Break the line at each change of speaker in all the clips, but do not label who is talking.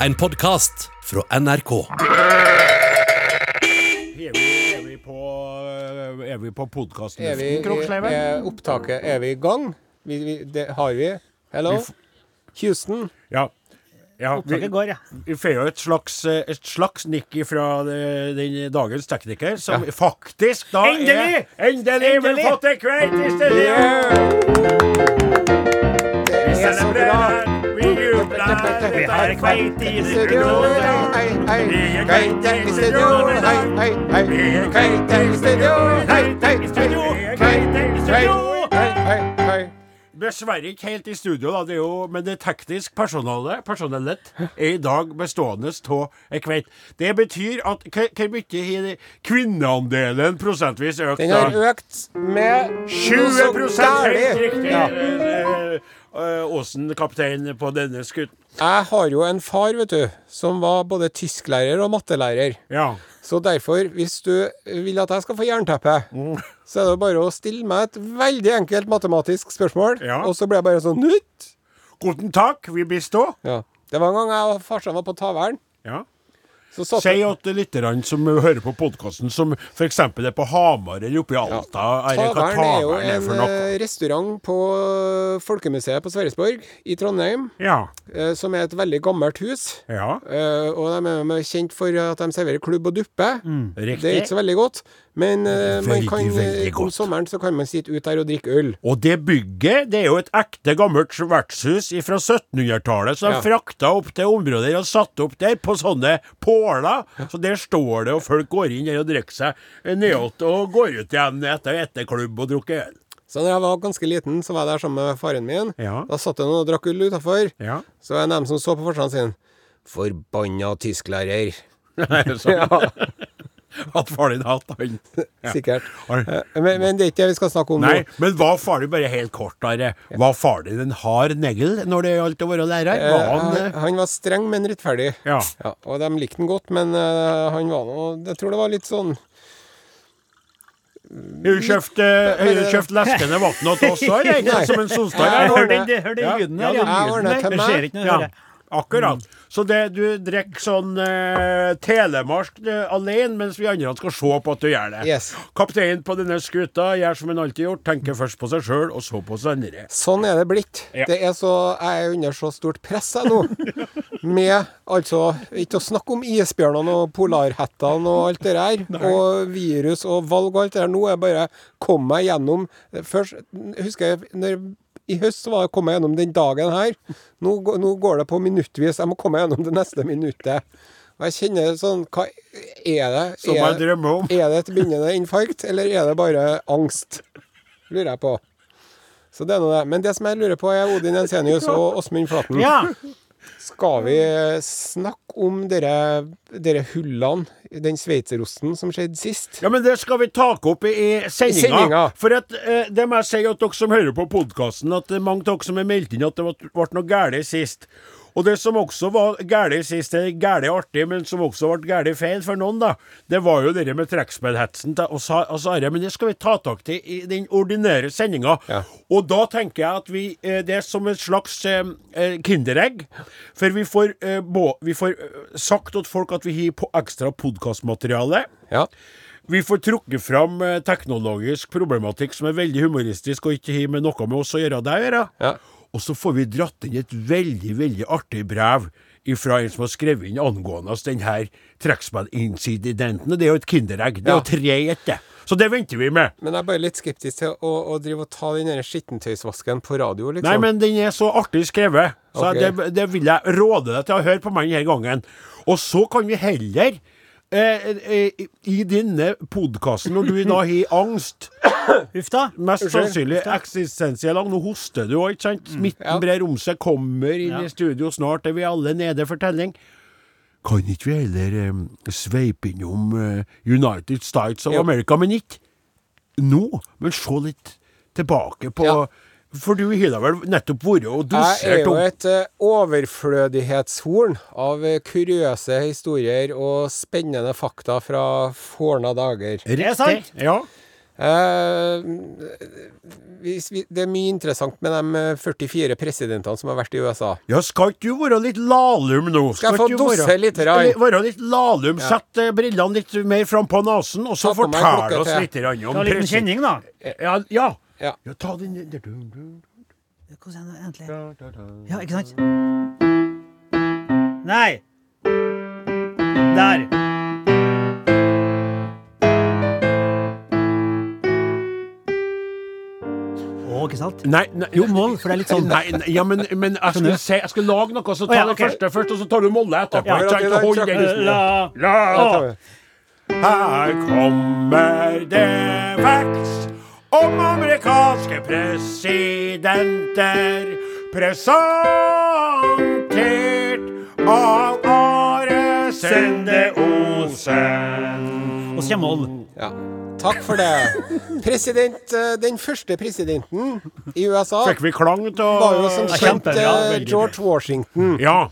En podkast fra NRK.
Er vi, er vi på, eh, er vi på podkasten?
Er vi,
Kroksleiven?
er opptaket Er vi i gang? Vi, vi, det har vi. Hello?
Vi f-
Houston?
Ja. ja vi,
Opptaket går, ja.
vi får jo et slags, eh, et slags nikk fra eh, den dagens tekniker, som faktisk da
Endelig!
er Endelig!
Endelig!
Vi har fått en kveite i stedet!
Det
Vi
er så bra!
celebrerer, vi jubler,
Vi har kveite i studio.
Hei, hei, kveite i studio. Hei, hei, hei. Kveite i studio. Hei, hei, hei. Kveite, hei, hei, hei.
Dessverre ikke helt i studio, da, det er jo, men det teknisk personale, personellet er i dag bestående av ei kveite. Det betyr at k- Hvor mye har de- kvinneandelen prosentvis økt?
Den har
da?
økt med
20 helt riktig!
Ja.
eh, eh, Åsen, kaptein på denne skutten.
Jeg har jo en far, vet du, som var både tysklærer og mattelærer.
Ja.
Så derfor, hvis du vil at jeg skal få jernteppe,
Mm.
så er det bare å stille meg et veldig enkelt matematisk spørsmål,
Ja.
og så blir jeg bare sånn Nytt!
Guten takk, vi består.
Ja. Det var en gang jeg og farsan var på Tavern.
Ja.
Så satt
Si at det er lytterne som hører på podkasten, som f.eks. er på Hamar eller oppe i Alta eller hva
Tavern er jo
Tavern er
en
for noe.
eh, restaurant på eh, Folkemuseet på Sverresborg i Trondheim,
Ja.
eh, som er et veldig gammelt hus.
ja.
Eh, og de er jo kjent for at de serverer klubb og duppe.
Riktig.
Det er ikke så veldig godt, men eh, man
Veldig,
kan, eh,
veldig
om
godt.
sommeren så kan man sitte ut der og drikke øl.
Og det bygget det er jo et ekte gammelt vertshus fra 1700-tallet, så de
Ja.
frakta opp til områder og satte opp der på sånne påler. Så der står det, og folk går inn der og drikker seg nedåt, og går ut igjen etter etterklubb og drukker øl.
Så da jeg var ganske liten, så var jeg der sammen med faren min.
Ja.
Da satt det noen og drakk ull utafor.
Ja.
Så var det en av dem som så på forsiden sin. Forbanna tysklærer.
Så sånn At far din hatt han. Ja.
Sikkert.
Har-
Eh, Men, men det er ikke det vi skal snakke om
Nei,
nå.
men var far din bare helt kort, Are? Var far din en hard negl når det gjaldt å være lærer?
Eh,
Var han
han,
eh,
han var streng, men rettferdig.
Ja.
Ja, og de likte han godt, men eh, han var nå Jeg tror det var litt sånn
Har du kjøpt, eh, har du kjøpt leskende vann til oss òg,
Nei.
som en solstad?
Jeg
eller?
ordner-
Hør den, hør den
Ja,
lyden
ja,
her.
den
Ja,
Jeg ordner til
Det
meg.
skjer ikke noe. hører jeg.
Akkurat. Så det, du drikker sånn eh, telemark eh, alene, mens vi andre skal se på at du gjør det.
Yes.
Kapteinen på denne skuta gjør som han alltid gjort, tenker først på seg sjøl, og så på seg andre.
Sånn er det blitt.
Ja.
Det er så, jeg er under så stort press jeg nå. Med altså Ikke å snakke om isbjørnene og polarhettene og alt det der. Og virus og valg og alt det der. Nå er jeg bare Kom meg gjennom eh, Først husker jeg når, I høst så var jeg kom meg gjennom den dagen her. Nå, gå- nå går det på minuttvis. Jeg må komme meg gjennom det neste minuttet. Og jeg kjenner sånn Hva er det?
Som
er,
jeg drømmer om.
Er det et begynnende infarkt, eller er det bare angst? Lurer jeg på. Så det er noe det. Men det som jeg lurer på, er Odin Jensenius og Åsmund Flaten.
Ja.
Skal vi snakke om dere, dere hullene, i den sveitserosten som skjedde sist?
Ja, men det skal vi ta opp i, i sendinga.
sendinga.
For at, eh, det må jeg si at dere som hører på podkasten, at det er mange av dere som har meldt inn at det ble, ble noe galt sist. Og det som også var galt sist, det er galt artig, men som også ble galt feil for noen, da, det var jo det der med trekkspillhetsen til oss her- oss Are. Men det skal vi ta tak til i den ordinære sendinga.
Ja.
Og da tenker jeg at vi eh, Det er som et slags eh, eh, kinderegg. For vi får, eh, bå- vi får eh, sagt til folk at vi har på ekstra podkastmateriale.
Ja.
Vi får trukket fram eh, teknologisk problematikk som er veldig humoristisk og ikke har med noe med oss å gjøre. Det å gjøre.
Ja.
Og så får vi dratt inn et veldig veldig artig brev fra en som har skrevet inn angående oss den her trekkspillincidenten. Og det er jo et kinderegg. Det er
Ja.
jo tre i ett, det. Så det venter vi med.
Men jeg er bare litt skeptisk til å, å drive og ta den der skittentøysvasken på radio, liksom.
Nei, men den er så artig skrevet, så
Ok.
det, det vil jeg råde deg til å høre på meg denne gangen. Og så kan vi heller eh, eh, i denne podkasten, når du da har angst
Huff da.
Mest sannsynlig eksistensiell angst. Nå hoster du òg, ikke sant? Smitten
Mm. Ja.
brer om seg, kommer inn i studio snart, er vi alle nede for telling. Kan ikke vi heller eh, sveipe innom eh, United States of
Ja.
America, men ikke nå? Men se litt tilbake på
Ja.
For du har da vel nettopp vært og
Jeg er
dosert
jo
om
et eh, overflødighetshorn av eh, kuriøse historier og spennende fakta fra forna dager.
Det er sant.
Ja.
Eh, hvis vi, det er mye interessant med de eh, 44 presidentene som har vært i USA.
Ja, skal ikke du være litt lalum nå?
Skal jeg
ikke
få
du være-
dose litt her?
Eller Være litt lalum, sett eh, brillene litt mer fram på nesen, og så
Ta på meg
fortell
klokka
oss
til.
litt grann om
Ta en liten
presi-
kjenning, da.
Ja, ja.
Ja.
ja, ta den der dun, dun.
Hvordan er det egentlig? Ja, ikke sant? Nei. Der. Å, ikke sant?
Nei, nei, jo,
Mål, for det er litt sånn
Nei, nei, ja, men, men jeg, skulle se, jeg skulle lage noe, så
Å,
tar
ja,
jeg det
ok.
første først, og så tar du Molle etterpå.
Ja,
Jeg trenger ikke å holde den lysten.
La
La-
tar vi.
Her kommer det facts om amerikanske presidenter. Presentert av Are Sende Osen.
Og så kommer Moll.
Ja. Takk for det. President, eh, den første presidenten i USA
Fikk vi klang
var jo
av
som
Ja,
kjent
kjempebra.
eh,
Veldig
George Washington.
Ja.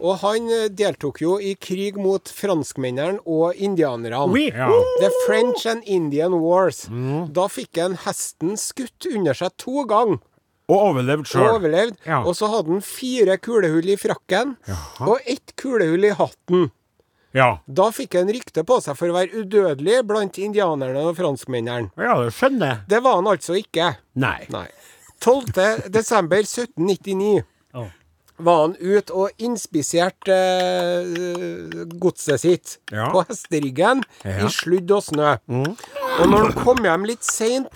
Og han eh, deltok jo i krig mot franskmennene og indianerne.
Oui.
ja.
The French and Indian Wars. Da fikk han hesten skutt under seg to ganger.
Og overlevd
Og
sjøl.
overlevd.
Ja.
Og så hadde han fire kulehull i frakken, og ett kulehull i hatten.
Ja.
Da fikk han rykte på seg for å være udødelig blant indianerne og franskmennene.
ja, det skjønner jeg.
Det var han altså ikke.
Nei.
Nei. 12. desember 1799
Å.
var han ute og inspiserte eh, godset sitt
Ja.
på hesteryggen
Ja. Mm.
i sludd og snø. Og når han kom hjem litt seint,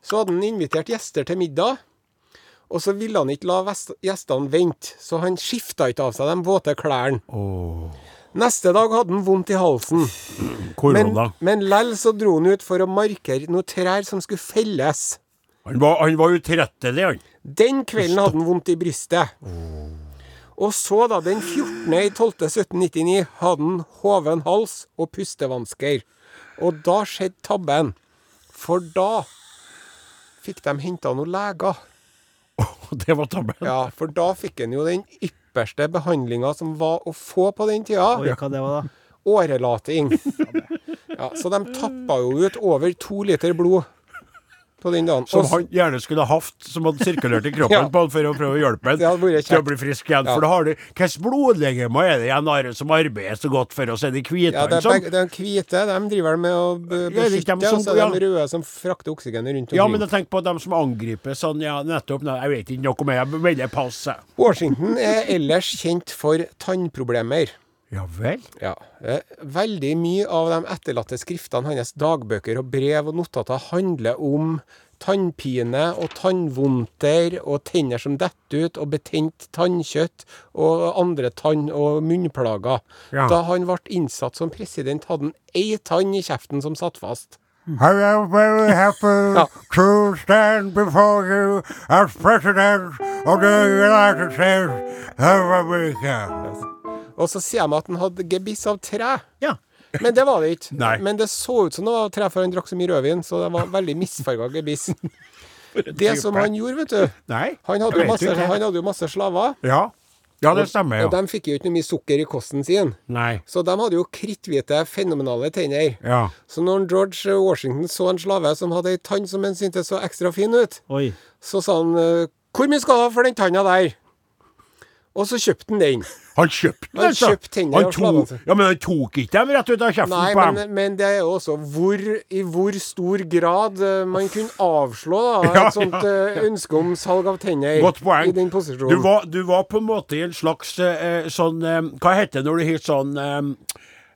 så hadde han invitert gjester til middag. Og så ville han ikke la vest- gjestene vente, så han skifta ikke av seg de våte klærne. Neste dag hadde han vondt i halsen, men,
Korona.
men lell så dro han ut for å markere noen trær som skulle felles.
Han var, han var utrettelig, han.
Den kvelden hadde han vondt i brystet. Og så, da, den 14.12.1799, hadde han hoven hals og pustevansker. Og da skjedde tabben. For da fikk de henta noen leger.
Og det var tabben.
Ja, for da fikk han jo den ypperste behandlinga som var å få på den
Oi,
tida.
hva det var da?
Årelating. Ja, så de tappa jo ut over to liter blod på den dagen.
Som
Og-
han gjerne skulle hatt, som hadde sirkulert i kroppen
Ja.
på han for å prøve å hjelpe
Det
han
hadde vært
til å
kjekt.
bli frisk igjen.
Ja.
For da har du Hvilke blodlegemer er det igjen Are, som arbeider så godt for oss? Er det
Ja,
hvitene
det er
som
begge, de hvite de driver vel med å be-
Ja, det er
beskytte,
ikke dem som-
og så er det
ja.
de røde som frakter oksygenet rundt
Ja, men
omkring.
jeg tenker på dem som angriper sånn, ja, nettopp. Nei, jeg vet ikke noe om det, jeg melder pass, jeg.
Washington er ellers kjent for tannproblemer.
Ja vel?
Ja. eh, Veldig mye av de etterlatte skriftene hans, dagbøker og brev og notater, handler om tannpine og tannvondter og tenner som detter ut, og betent tannkjøtt og andre tann- og munnplager.
Ja.
Da han ble innsatt som president, hadde han ei tann i kjeften som satt fast.
I am very happy
Ja.
to stand before you as president of the United States of America.
Og så sier de at han hadde gebiss av tre.
Ja.
Men det var det ikke.
Nei.
Men det så ut som det var tre, for han drakk så mye rødvin, så det var veldig misfarga gebiss. Det som han gjorde, vet du
Nei,
Han
jeg
hadde, jo
vet
masse,
ikke.
han hadde jo masse slaver,
Ja. ja, det stemmer,
og
ja.
de fikk jo ikke noe mye sukker i kosten sin.
Nei.
Så de hadde jo kritthvite, fenomenale tenner.
Ja.
Så når George Washington så en slave som hadde ei tann som han syntes så ekstra fin ut,
Oi.
så sa han eh, 'Hvor mye skal du ha for den tanna der?' Og så kjøpte han den.
Han kjøpte den,
Han kjøpte tenner
Han
av slaven
tok-
sin.
Ja, men han tok ikke dem rett ut av kjeften
Nei,
på
men,
dem.
men det er jo også hvor, i hvor stor grad eh, man kunne avslå da,
Ja,
et sånt eh, ønske om salg av tenner
Godt poeng.
eh, i den
Du
posisjonen.
var, du var på en måte i en slags eh, eh, sånn eh, Hva heter det når du har sånn eh,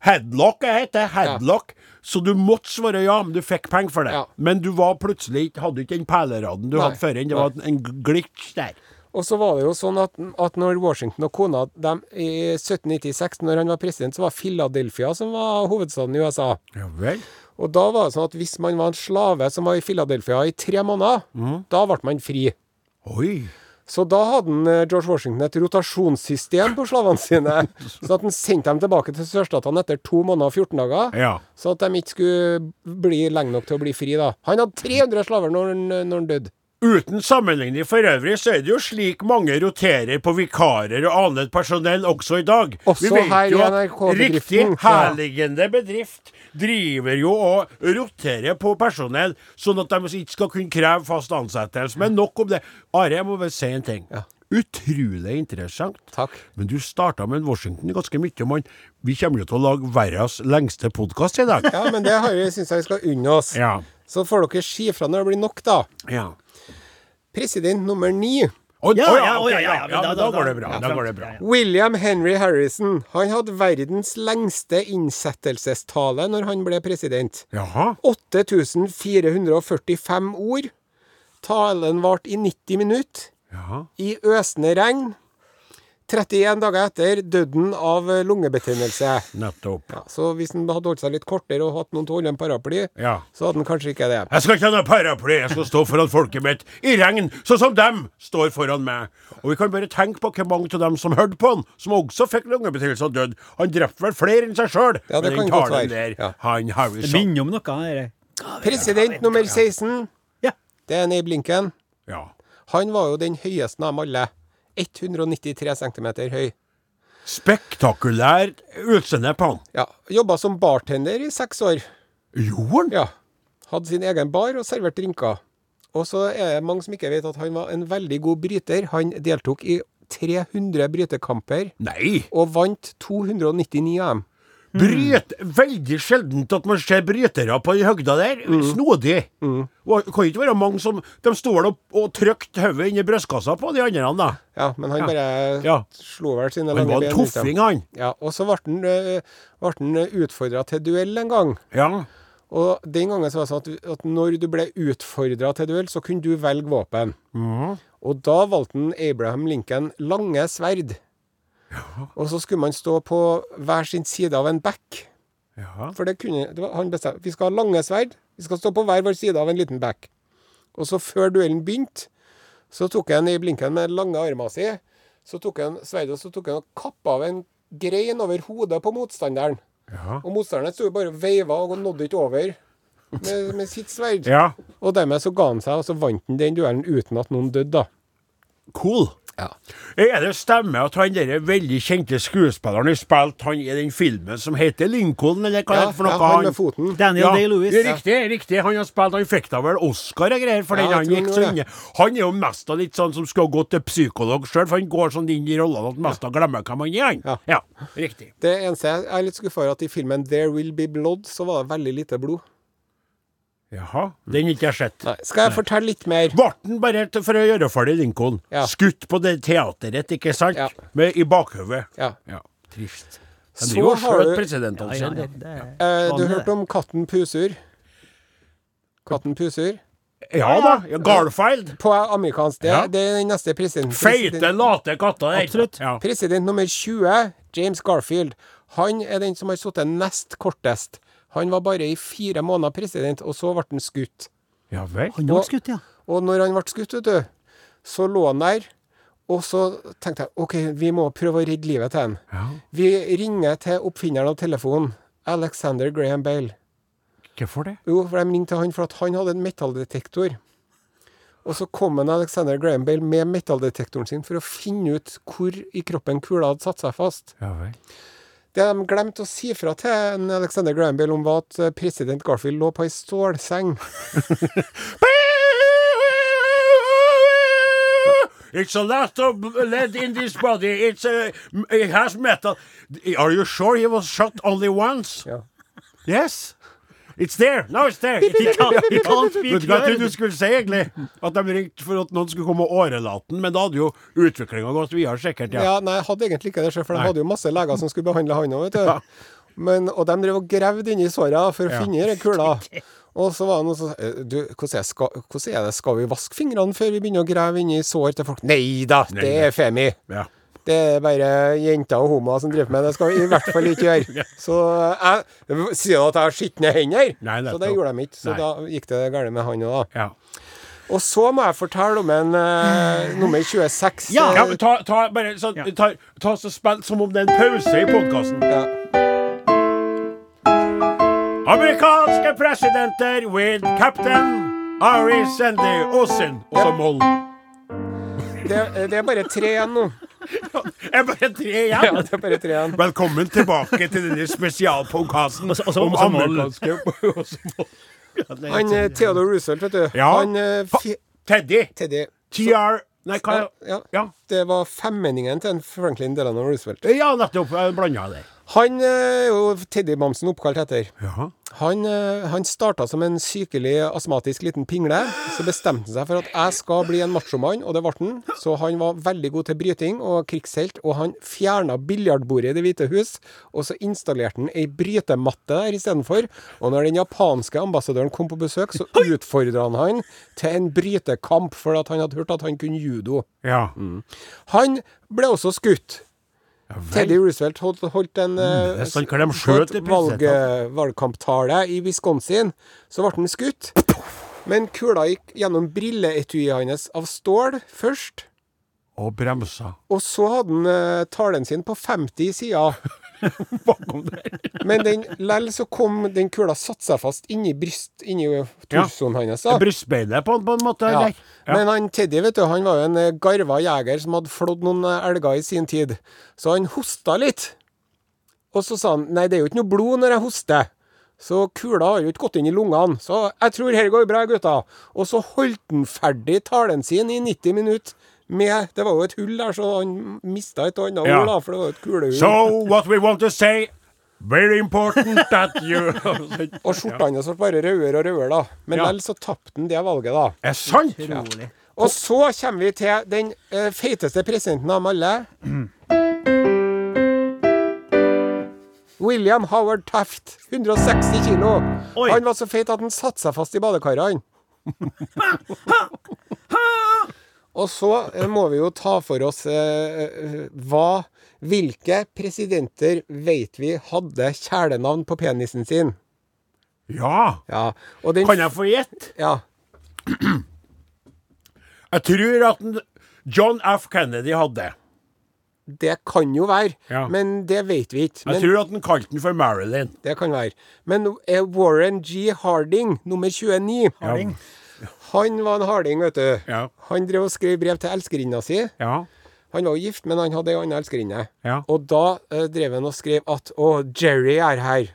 Headlock, jeg heter headlock. Så du måtte svare ja, men du fikk penger for det.
Ja.
Men du var plutselig ikke- hadde ikke den perleraden du
Nei,
hadde før. Det var en- en glitch der.
Og så var det jo sånn at, at når Washington og kona dem, i 1796, når han var president, så var Philadelphia som var hovedstaden i USA.
Ja vel.
Og da var det sånn at hvis man var en slave som var i Philadelphia i tre måneder,
Mhm.
da ble man fri.
Oi.
Så da hadde han, eh, George Washington et rotasjonssystem på slavene sine. Så at han sendte dem tilbake til sørstatene etter to måneder og 14 dager.
Ja.
Så at de ikke skulle bli lenge nok til å bli fri, da. Han hadde 300 slaver når han, når han døde.
Uten sammenligning for øvrig, så er det jo slik mange roterer på vikarer og annet personell også i dag.
Også her i NRK-bedriften.
riktig
Ja.
herliggende bedrift driver jo og roterer på personell, sånn at de ikke skal kunne kreve fast ansettelse. Men nok om det. Are, jeg må bare si en ting.
Ja.
Utrolig interessant.
Takk.
Men du starta med en Washington ganske mye, mann. Vi kommer jo til å lage verdens lengste podkast i dag.
Ja, men det syns jeg vi skal unne oss.
Ja.
Så får dere si ifra når det blir nok, da.
ja.
President nummer ni,
Å,
Ja,
å
ja,
ok,
ja, ja,
ja,
ja, men
ja,
da-
men da
da- da-
går det bra.
ja,
Da
sant.
går det bra.
Ja, ja.
William Henry Harrison, han hadde verdens lengste innsettelsestale når han ble president.
Jaha.
8445 ord. Talen varte i 90 minutter.
Jaha.
I øsende regn. 31 dager etter døden av eh, lungebetennelse.
Nettopp.
Ja, så hvis han hadde holdt seg litt kortere og hatt noen til å holde en paraply,
Ja.
så hadde han kanskje ikke det.
Jeg skal ikke ha noe paraply, jeg skal stå foran folket mitt i regn, sånn som dem står foran meg. Og vi kan bare tenke på hvor mange av dem som hørte på han, som også fikk lungebetennelse og døde. Han drepte vel flere enn seg sjøl,
Ja, det
men den
kan godt være.
talen der,
Ja.
han
Det
Harrison
minner om noe. Her. eh.
President nummer 16,
Ja.
det er Abe Lincoln.
Ja.
Han var jo den høyeste av dem alle. 193 cm høy.
Spektakulært utseende på han.
Ja, Jobba som bartender i seks år.
Gjorde han?
Ja. Hadde sin egen bar og servert drinker. Og så er det mange som ikke vet at han var en veldig god bryter. Han deltok i 300 brytekamper
Nei!
og vant 299 av dem.
Bryt, Veldig sjeldent at man ser brytere på den høgda der.
Mm.
Snodig. Og Det kan ikke være mange som De sto vel og, og trykte hodet inn i brystkassa på de andre, da.
Ja, men han bare
Ja.
slo vel sine
Han
lange
var
ben.
en
ut, ja.
toffing, han.
Ja, og så ble han, øh, ble han utfordra til duell en gang.
Ja.
Og den gangen så var det sånn at, at når du ble utfordra til duell, så kunne du velge våpen. Og da valgte han Abraham Lincoln lange sverd. Og så skulle man stå på hver sin side av en bekk.
ja.
For det kunne det var, Han bestemte vi skal ha lange sverd. Vi skal stå på hver vår side av en liten bekk. Og så før duellen begynte, så tok han Abe Lincoln med lange armer si, så tok han sverdet og så tok han og kappa av en grein over hodet på motstanderen.
Ja.
Og motstanderen sto jo bare og veiva og nådde ikke over med, med sitt sverd.
ja.
Og dermed så ga han seg, og så vant han den duellen uten at noen døde, da.
Cool.
Ja.
Er det stemme at han der veldig kjente skuespilleren har spilt han i den filmen som heter Lincoln, eller hva
Ja,
er det for noe?
han med foten.
Daniel
Ja,
Day-Lewis.
det er Riktig, riktig. Han har spilt, han fikk da vel Oscar og greier for
Ja,
den.
jeg
Han
tror
gikk
han
så
gjorde
inn i- Han er jo mest av litt sånn som skulle ha gått til psykolog sjøl, for han går sånn inn i rollene at mest av glemmer hvem han er, han.
Ja.
Ja, riktig.
Det eneste jeg er litt skuffa over, at i filmen 'There Will Be Blood' så var det veldig lite blod.
Jaha. Den har ikke jeg sett.
Nei. Skal jeg fortelle litt mer?
Ble den bare til- for å gjøre ferdig Lincoln.
Ja.
Skutt på det teateret, ikke sant?
Ja.
Med, I bakhodet.
Ja.
Ja. Trist.
Så
Han driver og
har
skjøt
du-
presidentene
Ja, ja,
sine.
det er
Eh, du
vanlig, det.
hørte om katten Pusur? Katten Pusur?
Ja da. ja, Garfield.
På amerikansk. Det,
Ja.
det er den neste presidenten.
Feite, late katter. der.
Absolutt.
Ja.
President nummer 20, James Garfield, han er den som har sittet nest kortest. Han var bare i fire måneder president, og så ble han skutt.
ja vel.
Han ble skutt, ja.
Og når han ble skutt, vet du, så lå han der, og så tenkte jeg OK, vi må prøve å redde livet til han.
Ja.
Vi ringer til oppfinneren av telefonen, Alexander Graham Bale.
Hvorfor det?
Jo, for de ringte til han for at han hadde en metalldetektor. Og så kom en Alexander Graham Bale med metalldetektoren sin for å finne ut hvor i kroppen kula hadde satt seg fast.
Ja vel.
Det de glemte å si fra til en Alexander Graham Bell om, var at eh, president Garfield lå på ei stålseng.
It's a lot of lead in this body. It's a, it has metal. Are you sure he was shot only once?
Ja.
Yes. It's there. Now it's there. It, it,
can't- it can't be
Vet du hva jeg
cured.
trodde du skulle si, egentlig? At de ringte for at noen skulle komme og årelate den, men da hadde jo utviklinga gått videre, sikkert.
Ja,
Ja.
nei, jeg hadde egentlig ikke det sjøl, for de
Nei.
hadde jo masse leger som skulle behandle han òg, vet du. Men, og de drev og gravde inni såra for å
Ja.
finne den kula. Og så var det noen som sa eh, Du, hvordan er, skal, hvordan er det, skal vi vaske fingrene før vi begynner å grave inni sår til folk? Nei da, det
Nei,
er femi.
Ja.
Det er bare jenter og homoer som driver med det. Det skal vi i hvert fall ikke gjøre. Så jeg sier jo at jeg har skitne hender,
Nei,
så det
nettopp.
gjorde de ikke. Så
Nei.
da gikk det galt med han òg, da.
ja.
Og så må jeg fortelle om en eh, nummer 26.
Ja.
eh,
ja men ta, ta bare sånn
Ja.
ta, ta så spill som om det er en pause i podkasten.
ja.
Amerikanske presidenter with Captain Ari, Sandy, Åsen og så moll.
Det, eh, det er bare tre igjen nå.
Jeg bare tre
Ja,
igjen.
det er bare tre igjen.
Velkommen tilbake til denne spesialpodkasten
Og så- og så-
om
og så moll.
amerikanske og så moll. Ja, det er
Han eh, Theodore Roosevelt, vet du.
Ja.
Han eh, fi-
Teddy.
Teddy.
TR Nei, hva
Ja,
Ja,
Det var femmenningen til en Franklin Delano Roosevelt.
ja nettopp. Jeg blanda det.
Han eh, er jo Teddy Bamsen oppkalt etter.
Ja.
Han, eh, han starta som en sykelig astmatisk liten pingle. Så bestemte han seg for at 'jeg skal bli en machomann', og det ble han. Så han var veldig god til bryting og krigshelt, og han fjerna biljardbordet i Det hvite hus, og så installerte han ei brytematte der istedenfor. Og når den japanske ambassadøren kom på besøk, så utfordra han han til en brytekamp, for at han hadde hørt at han kunne judo.
ja.
Han ble også skutt. Teddy Roosevelt holdt, holdt en eh,
Mm, det er sant, hva de
s-
skjøt i
valg, eh,
presidenten.
valgkamptale i Wisconsin. Så ble han skutt. Men kula gikk gjennom brilleetuiet hans av stål først.
Og bremsa
Og så hadde han eh, talen sin på 50 sider.
bakom der.
Men den, lell så kom den kula satte seg fast inni bryst, inni torsoen hans. da.
Brystbeinet på, på en måte.
Ja.
Der. Ja.
Men han Teddy vet du, han var jo en eh, garva jeger som hadde flådd noen eh, elger i sin tid. Så han hosta litt. Og så sa han nei, det er jo ikke noe blod når jeg hoster. Så kula har jo ikke gått inn i lungene. Så jeg tror her går bra, gutta. Og så holdt han ferdig talen sin i 90 minutter. Med, det var jo et hull der, så han mista et annet
Ja.
ord, da, for det var jo et kulehull.
So what we want to say Very important that you
Og skjortene hans ble bare rødere og rødere, da. Men
Ja.
lell så tapte han det valget, da.
Er sant?
Rolig.
Og så kommer vi til den eh, feiteste presidenten av dem alle. William Howard Taft. 160 kilo.
Oi.
Han var så feit at han satte seg fast i badekarene. Og så eh, må vi jo ta for oss eh, eh, hva Hvilke presidenter vet vi hadde kjælenavn på penisen sin?
Ja.
Ja, og den
Kan jeg få gjette?
Ja.
Jeg tror at en John F. Kennedy hadde.
Det kan jo være,
Ja.
men det vet vi ikke.
Jeg
Men
tror at han kalte den for Marilyn.
Det kan være. Men er Warren G. Harding, nummer 29
Harding.
Han var en harding, vet du.
Ja.
Han drev og skrev brev til elskerinna si.
Ja.
Han var jo gift, men han hadde ei anna elskerinne.
Ja.
Og da eh, drev han og skrev at Å, Jerry er her.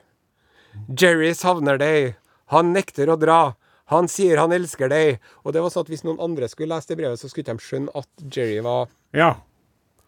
Jerry savner deg. Han nekter å dra. Han sier han elsker deg. Og det var sånn at hvis noen andre skulle lese det brevet, så skulle de skjønne at Jerry var
Ja.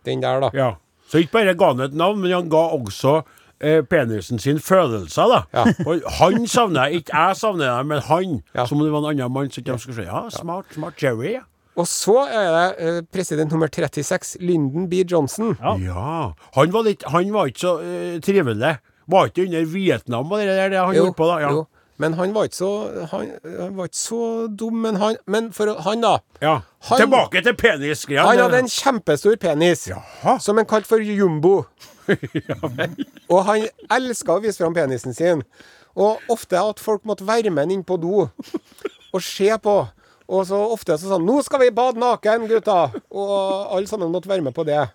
den der, da.
ja. Så ikke bare ga han et navn, men han ga også eh, penisen sin følelser, da.
Ja.
Og han savner jeg, ikke jeg savner dem, men han.
Ja.
Som om det var en annen mann. Så ikke de skulle si ja, smart, smart Jerry. Ja.
Og så er det eh, president nummer 36, Lyndon B. Johnson.
Ja.
Ja. Han var, litt, han var ikke så eh, trivelig. Var ikke under Vietnam og det der det han
Jo,
gjorde på, da? Ja.
jo. Men han var ikke så, han, han var ikke så dum, men han Men for å- han, da.
ja.
Han-
Tilbake til penisgreia.
Han hadde en kjempestor penis,
Jaha.
som han kalte for jumbo. og han elska å vise fram penisen sin. Og ofte at folk måtte være med han inn på do og se på. Og så ofte så sa han 'Nå skal vi bade naken, gutta!' Og alle sammen måtte være med på det.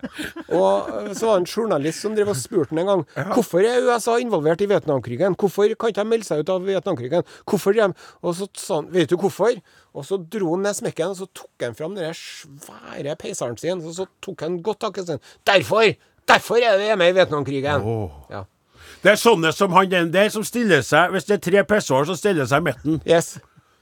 Og eh, så var det en journalist som drev og spurte han en gang 'Hvorfor er USA involvert i Vietnamkrigen? Hvorfor kan ikke de melde seg ut av Vietnamkrigen?' Hvorfor gjør de? Og så sa han 'Vet du hvorfor?' Og så dro han ned smekken, og så tok han fram den der svære peiseren sin, og så tok han godt tak i den. 'Derfor! Derfor er vi hjemme i Vietnamkrigen!' Ja.
Det er sånne som han den der som stiller seg Hvis det er tre pessoer, så stiller seg i midten.
Yes.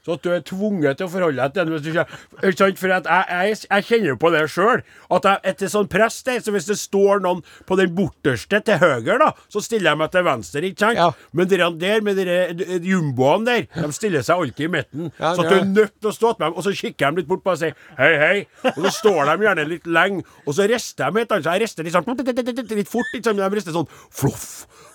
Så at du er tvunget til å forholde deg til den. Hvis du ikke, ikke sant? For at jeg, jeg, jeg kjenner jo på det sjøl. At jeg, etter sånn press der, så hvis det står noen på den borteste til høyre, da, så stiller jeg meg til venstre, ikke sant?
Ja.
Men de der med de der jumboene der, de stiller seg alltid i midten.
Ja,
så at
det
du
er
er nødt til å stå til dem, og så kikker de litt bort på deg og sier hei, hei. Og så står de gjerne litt lenge, og så rister de helt annerledes. Jeg rister litt sånn litt fort, ikke sant? Men de rister sånn floff,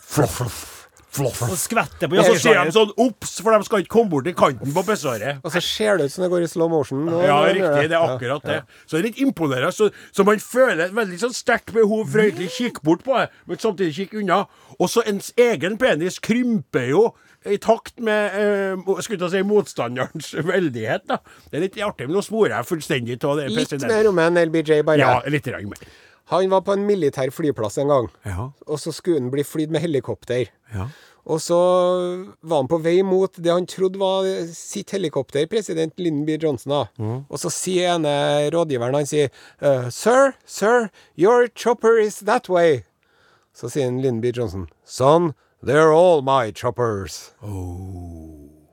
floff, floff. floff.
Og skvetter på
Ja, så sier
jakkesvaret.
de sånn obs, for de skal ikke komme borti kanten på besvaret.
Og så ser det ut som det går i slow motion. og-
Ja,
og-
riktig. Det er
Ja.
akkurat det. Så det er litt imponerende. Så, så man føler et veldig sånn sterkt behov for å egentlig kikke bort på det, men samtidig kikke unna. Og så ens egen penis krymper jo i takt med eh, mo- skulle jeg til å si, motstanderens veldighet. da. Det er litt artig, men nå sporer jeg fullstendig av det.
Litt
president.
mer om en LBJ, bare.
Ja, litt grann mer.
Han var på en militær flyplass en gang.
Ja.
Og så skulle han bli flydd med helikopter.
Ja.
Og så var han på vei mot det han trodde var sitt helikopter, president Lyndon B. Johnson. da.
Mm.
Og så sier ene rådgiveren han sier, «Eh, Sir, sir, your chopper is that way. Så sier han Lyndon B. Johnson, Son, they're all my choppers.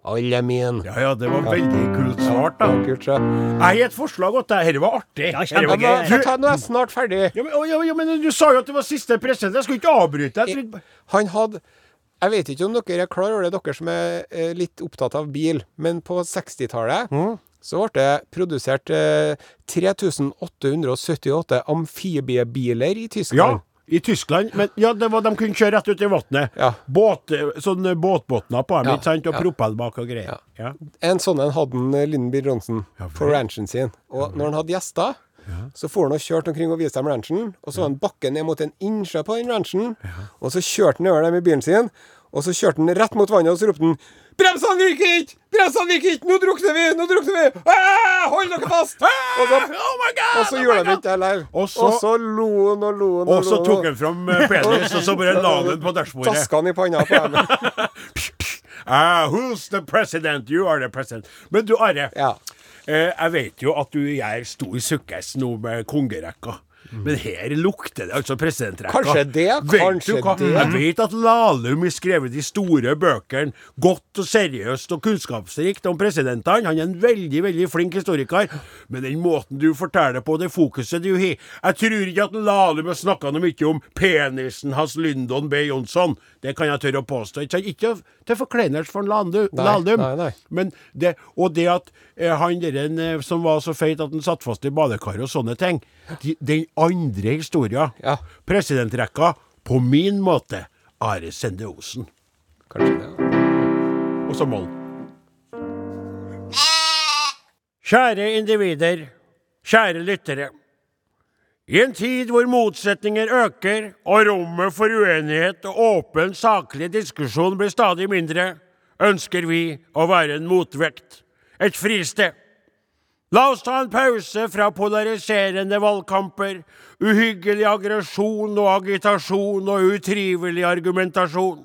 Alle mine.
Oh. Ja, ja, det var veldig kult svart, da.
Kult, så.
Jeg har et forslag til deg. Dette var artig.
Ja,
Dette var
kjempegøy.
gøy.
Nå nå er jeg snart ferdig.
Ja, men, å, ja, ja, men du sa jo at det var siste president. Jeg skulle ikke avbryte. Jeg trodde...
Han hadde Jeg vet ikke om dere er klar over det, dere som er eh, litt opptatt av bil, men på 60-tallet så ble det produsert eh, 3878 amfibiebiler i
Ja,
Tyskland.
i Tyskland. Men ja, det var, de kunne kjøre rett ut i vannet.
Ja.
Båt, sånn båtbåtner på dem,
Ja,
ikke sant? Og
ja.
propell bak og greier. Ja.
En sånn en hadde en Lyndon B. Johnson
Ja vel.
på ranchen sin. Og når han hadde gjester, så for han og kjørte omkring og viste dem ranchen. Og så var han bakken ned mot en innsjø på den ranchen. Og så kjørte han over dem i bilen sin. Og så kjørte han rett mot vannet, og så ropte han Bremsene virker ikke! Bremsene virker ikke! Nå drukner vi! Nå drukner vi! Ah, hold dere fast! Og så,
Ah, oh my God,
og så
oh my
gjorde de
God.
ikke det heller.
Og
Og
så-
så lo han og lo han
Og så
lo
tok han fram eh, penis, og så bare la han den på dashbordet.
Daska han i panna på dem.
Ah, who's the president? You are the president. Men du, Are.
Ja.
Eh, jeg vet jo at du gjør stor sukkes nå med kongerekka. Men her lukter det altså presidentrekka.
Mm. Kanskje det,
Vet
kanskje
du hva?
det.
Jeg vet at Lahlum har skrevet de store bøkene godt og seriøst og kunnskapsrikt om presidentene. Han er en veldig, veldig flink historiker. Men den måten du forteller på, det fokuset du har Jeg tror ikke at Lahlum har snakka noe mye om penisen hans Lyndon B. Johnson. Det kan jeg tørre å påstå. Ikke, sant? ikke til forkleinelse for Lahlum.
Nei,
Lahlum.
nei, nei.
Men det, og det at eh, han der en, eh, som var så feit at han satt fast i badekaret og sånne ting, de, den andre historia,
Ja.
presidentrekka, på min måte, Are Sende Osen.
Kanskje det. ja.
Og så mål. Kjære individer, kjære lyttere. I en tid hvor motsetninger øker, og rommet for uenighet og åpen, saklig diskusjon blir stadig mindre, ønsker vi å være en motvekt, et fristed. La oss ta en pause fra polariserende valgkamper, uhyggelig aggresjon og agitasjon og utrivelig argumentasjon.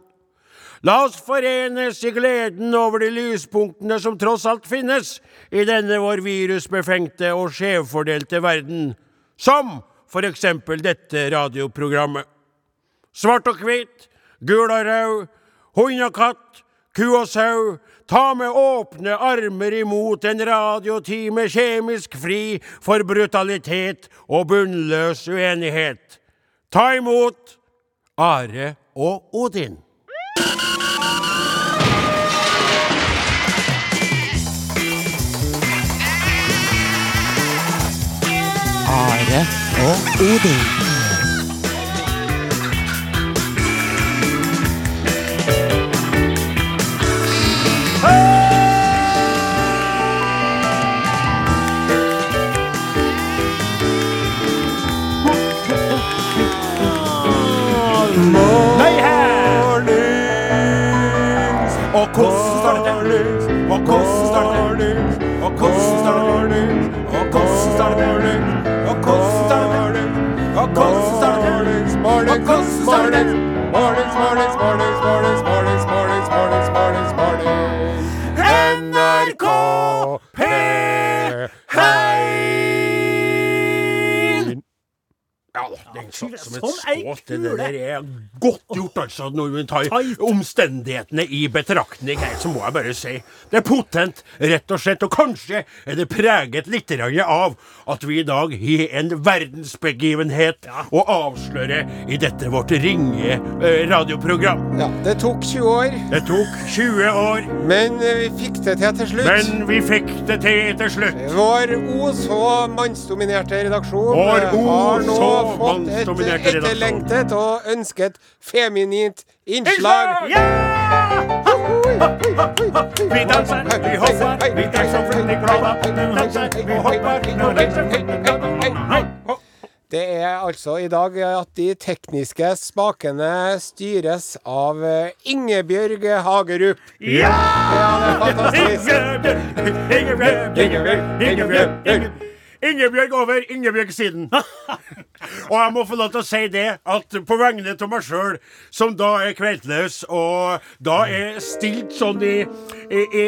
La oss forenes i gleden over de lyspunktene som tross alt finnes i denne vår virusbefengte og skjevfordelte verden, som for eksempel dette radioprogrammet. Svart og hvit, gul og rød, hund og katt, ku og sau. Ta med åpne armer imot en radiotime kjemisk fri for brutalitet og bunnløs uenighet. Ta imot Are og Odin.
Are og Odin.
Nei, her! Og hvordan starter det? Og hvordan starter det? Og hvordan starter det? Og hvordan starter det? Og hvordan starter det? Og hvordan starter det? Og hvordan starter det?
Mornings, mornings, mornings, mornings, mornings, mornings, mornings, mornings, mornings.
NRK P1! Ja da, den satt som et
Som ei
skåt. Det
kule.
der er godt gjort, altså, når vi tar
Tight.
omstendighetene i betraktning her, så må jeg bare si. Det er potent, rett og slett, og kanskje er det preget litt grann av at vi i dag har en verdensbegivenhet å avsløre i dette vårt ringe eh, radioprogram.
Ja, det tok 20 år,
Det tok 20 år.
men eh, vi fikk det til til slutt.
Men vi fikk det til til slutt.
Vår o så mannsdominerte redaksjon
Vår
eh,
O
har nå
så
fått et
mannsdominerte redaksjon.
etterlengtet og ønsket feminint innslag.
Ja! Vi danser, vi hopper, vi danser fryktelig glada. Vi danser, vi hopper, vi danser fryktelig glada.
Det er altså i dag at de tekniske spakene styres av eh, Ingebjørg Hagerup.
Ja!
Ja, det er fantastisk.
Ingebjørg, Ingebjørg, Ingebjørg, Ingebjørg. Ingebjørg over, Ingebjørg siden. og jeg må få lov til å si det, at på vegne av meg sjøl, som da er kveltløs, og da er stilt sånn i, i, i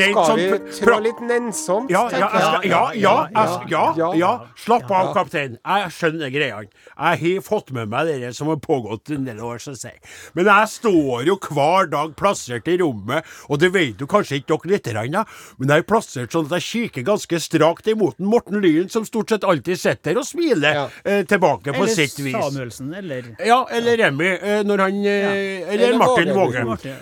Rent
Skal
sånn
vi
pra-
trå litt nennsomt?
ja, ja, jeg skal, ja, ja, jeg, skal- ja,
Ja,
ja,
ja.
Slapp av, kaptein. Jeg skjønner greiene. Jeg har fått med meg det der som har pågått en del år, så å si. Men jeg står jo hver dag plassert i rommet, og det vet jo kanskje ikke dere lite grann, da, men jeg er plassert sånn at jeg kikker ganske strakt imot en Morten Lyen, som stort sett alltid sitter der og smiler
Ja.
eh, tilbake på
Eller
sitt vis.
Samuelsen, eller
Ja, eller Remi, eh, når han eh, Eller,
Eller
Martin
Våge.
Våge.
Martin.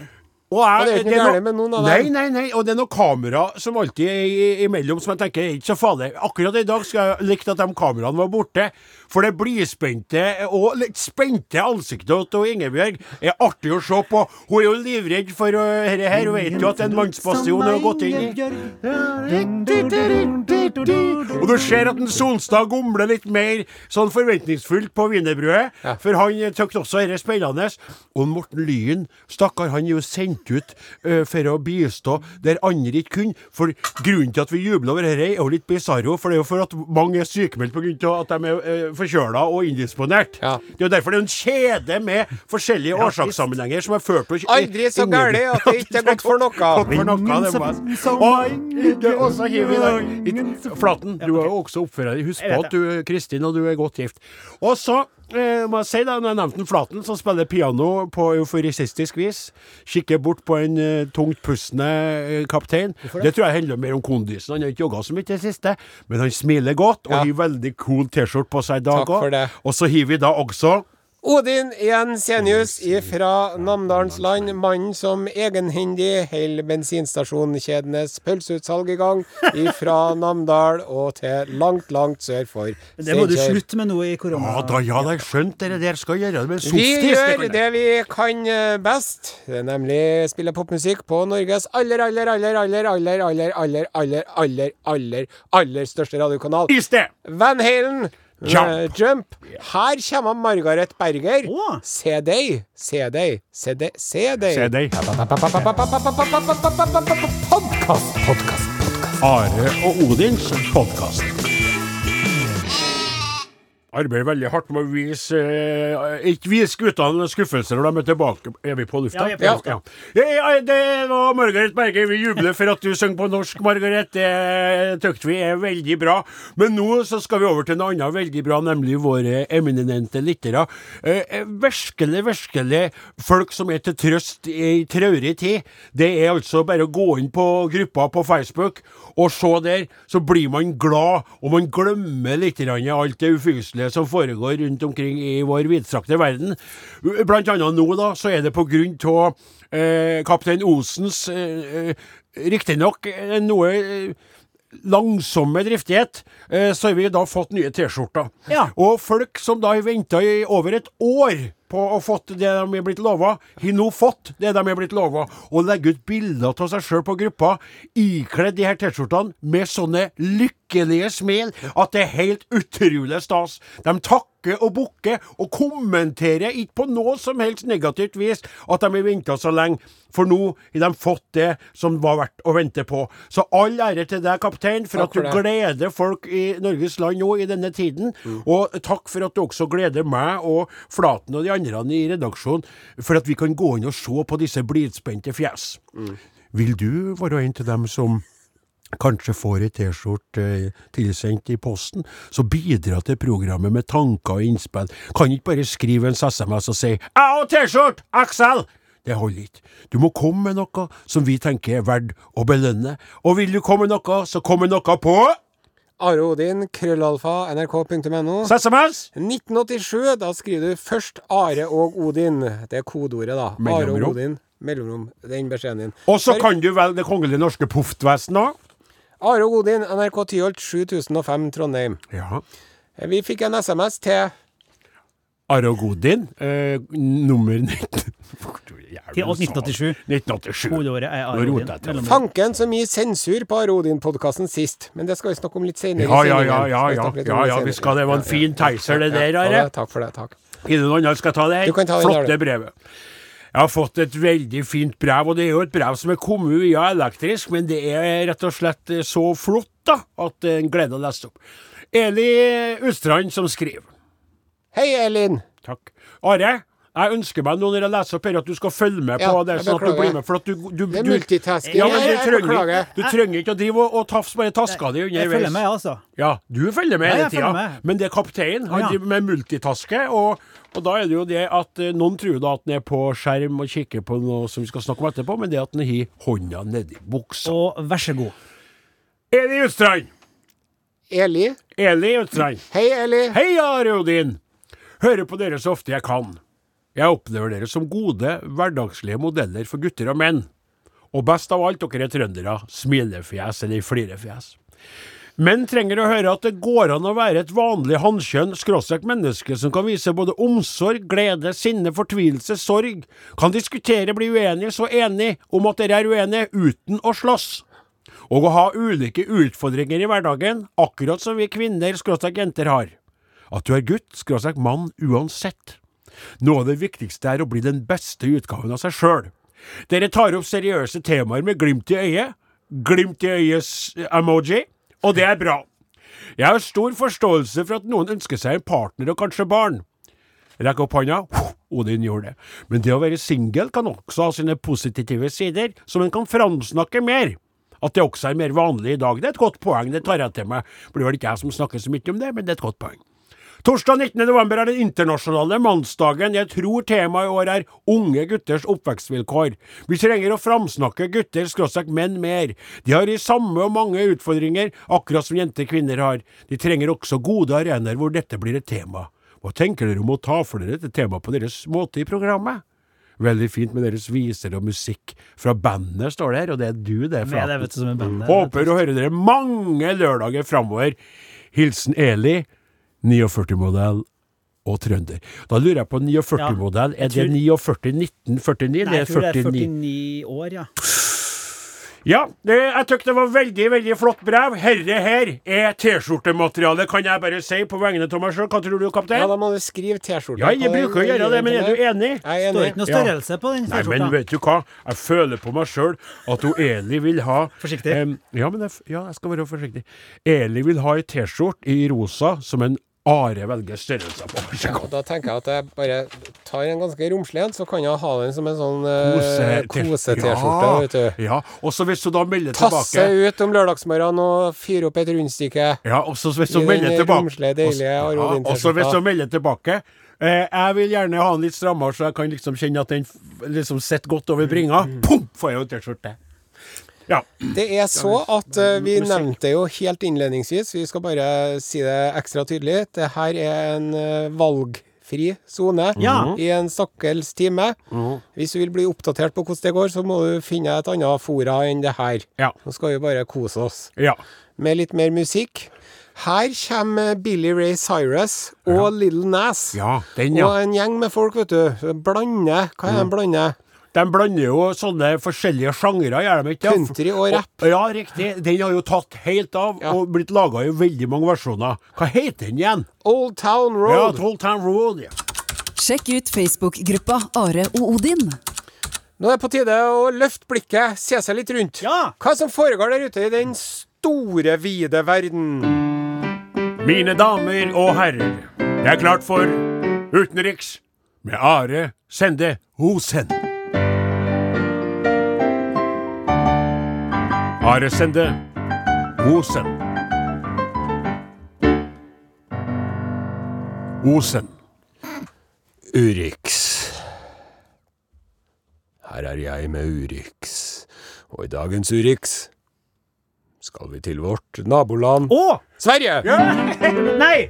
Og jeg,
det er ikke noe gærent med noen av
Nei,
dem.
nei, nei. Og det er noen kamera som alltid er i- imellom som jeg tenker er ikke så farlig. Akkurat i dag skulle jeg likt at de kameraene var borte. For det blidspente og litt spente ansiktet til Ingebjørg er artig å se på. Hun er jo livredd for uh, dette her. Hun vet jo at en mannsbastion har gått inn i. Og du ser at en Solstad gomler litt mer sånn forventningsfullt på wienerbrødet. For han eh, tykte også dette spennende. Og Morten Lyen, stakkar, han er jo sendt ut eh, for å bistå der andre ikke kunne. For grunnen til at vi jubler over dette, er jo litt bisarro. For det er jo for at mange er sykemeldt pga. at de er uh, forkjøla og indisponert.
Ja.
Det er jo derfor det er en kjede med forskjellige årsakssammenhenger som har ført til
Aldri så gærlig at det ikke er godt for noe.
Godt for noe, det var Og det er også hiv i dag. Ikke- Flaten, du er jo også oppfører deg. Husk
Jeg vet
på at du er Kristin, og du er godt gift. Og så eh, må jeg si da, når jeg nevnte den Flaten, som spiller piano på euforistisk vis, kikker bort på en eh, tungt pustende eh, kaptein. Det tror jeg handler mer om kondisen. Han har ikke jogga så mye i det siste, men han smiler godt og
Ja.
har veldig cool T-skjorte på seg i dag
Takk for
også.
det.
Og så har vi da også
Odin Jensenius fra Namdalens land, mannen som egenhendig holder bensinstasjonkjedenes pølseutsalg i gang fra Namdal og til langt, langt sør for
Det må du
Steinkjer.
slutte med nå i korona.
Ja da, ja da, jeg skjønte det der skal gjøre det med
Vi
softis. kan
gjør
jeg.
det vi kan eh, best, det er nemlig spille popmusikk på Norges aller, aller, aller, aller, aller, aller, aller, aller, aller, aller, aller største radiokanal.
I sted!
Van Halen.
Jump.
eh, Jump. Her kommer Margaret Berger.
Åh.
Se deg, se deg, se deg, se
Se
deg.
deg.
Podkast, podkast, podkast.
Are og Odins podkast. Arbeider veldig hardt med å vise eh, Ikke vise guttene skuffelser når de er tilbake. Er vi på lufta?
Ja, vi er på lufta.
Ja. Ja, ja, det var Margaret Berge. Vi jubler for at du sang på norsk, Margaret. Det syns vi er veldig bra. Men nå så skal vi over til noe annet veldig bra, nemlig våre eminente lyttere. Eh, eh, Virkelig, virkelig folk som er til trøst i traurig tid. Det er altså bare å gå inn på gruppa på Facebook og se der, så blir man glad, og man glemmer litt grann alt det ufyselige som foregår rundt omkring i vår vidstrakte verden. Blant annet nå, da, så er det på grunn av eh, kaptein Osens eh, eh, Riktignok eh, noe eh, langsomme driftighet, eh, så har vi da fått nye T-skjorter.
Ja.
Og folk som da har venta i over et år på å fått det de er blitt lova, har nå fått det de er blitt lova, og legger ut bilder av seg sjøl på gruppa ikledd de her T-skjortene med sånne lykkelige smil at det er helt utrolig stas. De takker og bukker og kommenterer ikke på noe som helst negativt vis at de har venta så lenge, for nå har de fått det som var verdt å vente på. Så all ære til deg, kaptein, for at du
Takk for det.
gleder gleder folk i Norges land nå i denne tiden. Og takk for at du også gleder meg og Flaten og de andre i redaksjonen for at vi kan gå inn og se på disse blidspente fjes. Vil du være en til dem som kanskje får ei T-skjorte eh, tilsendt i posten, så bidra til programmet med tanker og innspill. Kan ikke bare skrive en SMS og si 'Jeg og T-skjorte! Aksel!' Det holder ikke. Du må komme med noe som vi tenker er verdt å belønne. Og vil du komme med noe, så kom med noe på
Are Odin, krøllalfa, nrk.no.
SMS!
1987, da skriver du først Are og Odin. Det er kodeordet, da. Are og
Mellomrom.
Odin. Mellomrom. Den beskjeden din.
Og så kan du velge Det kongelige norske poftvesen òg.
Are og Odin, NRK Tyholt, 7005 Trondheim.
Ja.
Vi fikk en SMS til
Arogodin, eh, nummer 19
Til 1987.
1987.
Kodeåret er Are
Nå
Odin.
roter jeg til. altså.
Mellom-
Fanken så mye sensur på Are Odin-podkasten sist, men det skal vi snakke om litt senere. i
Ja, ja,
sendingen.
ja, ja,
Skal
ja,
snakke litt om
ja,
det
ja, vi
senere.
skal Det var en
Ja,
fin teiser, det der,
ja,
Are.
ja, takk for det. Takk.
Er det noen andre skal ta det her?
Du kan ta den,
Flotte
Jarle.
brevet. Jeg har fått et veldig fint brev, og det er jo et brev som er kommet via elektrisk, men det er rett og slett eh, så flott da at det er en glede å lese opp. Eli Utstrand som skriver.
Hei, Elin.
Takk. Are, jeg ønsker meg nå når jeg leser opp her, at du skal følge med
Ja,
på det,
jeg
sånn at du
beklager.
blir med. For at du, du,
Det er
du,
multitasking.
ja, men
Jeg-
du,
jeg
trenger,
beklager.
du trenger ikke å drive og, og tafse bare taska di underveis.
Jeg følger med, altså.
Ja, du følger med
Ja,
hele
jeg
tida.
følger med.
Men det er kapteinen. Han
Ja.
driver med multitaske. Og, og da er det jo det at eh, noen tror da at han er på skjerm og kikker på noe som vi skal snakke om etterpå, men det er at han har hånda nedi buksa.
Og vær så god.
Eli Utstrand!
Eli.
Eli Utstrand.
Hei, Eli.
Heia, Rodin! Hører på dere så ofte jeg kan. Jeg opplever dere som gode, hverdagslige modeller for gutter og menn. Og best av alt, dere er trøndere. Smilefjes eller flirefjes. Menn trenger å høre at det går an å være et vanlig hannkjønn skråstrek menneske som kan vise både omsorg, glede, sinne, fortvilelse, sorg, kan diskutere, bli uenig, så enig om at dere er uenige, uten å slåss og å ha ulike utfordringer i hverdagen, akkurat som vi kvinner skråstrek jenter har. At du er gutt skråstrek mann uansett. Noe av det viktigste er å bli den beste utgaven av seg sjøl. Dere tar opp seriøse temaer med glimt i øyet, glimt i øyes-emoji, og det er bra. Jeg har stor forståelse for at noen ønsker seg en partner og kanskje barn. Rekk opp hånda. Odin gjorde det. Men det å være singel kan også ha sine positive sider, som en kan framsnakke mer. At det også er mer vanlig i dag, det er et godt poeng, det tar jeg til meg. Blir vel ikke jeg som snakker så mye om det, men det er et godt poeng. Torsdag 19. november er den internasjonale mannsdagen. Jeg tror temaet i år er unge gutters oppvekstvilkår. Vi trenger å framsnakke gutter skråstrek menn mer. De har de samme og mange utfordringer, akkurat som jenter og kvinner har. De trenger også gode arenaer hvor dette blir et tema. Hva tenker dere om å ta for dere dette temaet på deres måte i programmet? Veldig fint med deres viser og musikk fra bandet, står det her, og det er du, det,
Med det,
Flaten.
vet du, som en band.
Håper å høre dere mange lørdager framover. Hilsen Eli, 49-modell og trønder. Da lurer jeg på 49-modell. Er
tror-
det 49-1949?
Nei,
Det
jeg
er
tror det er
49.
49 år, ja.
Ja, det, jeg tykk det var veldig, veldig flott brev. Herre her er T-skjortemateriale, kan jeg bare si på vegne av meg sjøl. Hva tror du,
Ja,
kaptein?
da må du skrive T-skjorte.
Ja, jeg
på den
bruker å gjøre det, men er du enig?
Jeg
Det
er
er ikke
enig.
noe størrelse på den
Nei, men
T-skjorta.
vet du hva? Jeg føler på meg sjøl at hun Eli vil ha
Forsiktig.
Em, ja, men jeg, f- ja, jeg skal være forsiktig. Eli vil ha ei T-skjorte i rosa som en Are velger størrelser på. Ikke
Og
sant?
da tenker jeg at jeg bare tar en ganske romslig en, så kan jeg ha den som en sånn eh,
Kose-
kose-T-skjorte,
Ja,
vet du.
Ja, og så hvis hun da melder
Tasse
tilbake
ut om lørdagsmorgenen og fyre opp et rundstykke.
Ja, og så hvis
I
hun
den
melder tilbake
romslige, deilige
og s-
Are
ja, og så hvis
Odin-T-skjorta.
hun melder tilbake eh, Jeg vil gjerne ha den litt strammere, så jeg kan liksom kjenne at den f- liksom sitter godt over bringa.
Mm.
Pum! Får jeg jo T-skjorte. Ja.
Det er så at eh, vi nevnte jo helt innledningsvis, vi skal bare si det ekstra tydelig, det her er en eh, valgfri zone
Mhm.
Ja.
i en stakkels time. Hvis du vil bli oppdatert på hvordan det går, så må du finne et annet fora enn det her.
Ja.
Nå skal vi bare kose oss
ja.
med litt mer musikk. Her kommer Billy Ray Cyrus og Little Nas.
Ja, den, ja. Mhm.
Og en gjeng med folk, vet du. Blande. Hva er en blande?
De blander jo sånne forskjellige sjangre, gjør de ikke?
Country og rap.
Ja, riktig. Den har jo tatt helt av,
Ja.
og blitt laga i veldig mange versjoner. Hva heter den igjen?
Old Town
Ja,
Road.
Toll Town Road. Ja.
Sjekk ut Facebook-gruppa Are og Odin.
Nå er det på tide å løfte blikket, se seg litt rundt.
Ja.
Hva som foregår der ute i den store, vide verden?
Mine damer og herrer, det er klart for Utenriks med Are Sende Osen. Are Sende Osen. Osen.
Urix. Her er jeg med Urix, og i dagens Urix skal vi til vårt naboland
Å!
Sverige!
Nei!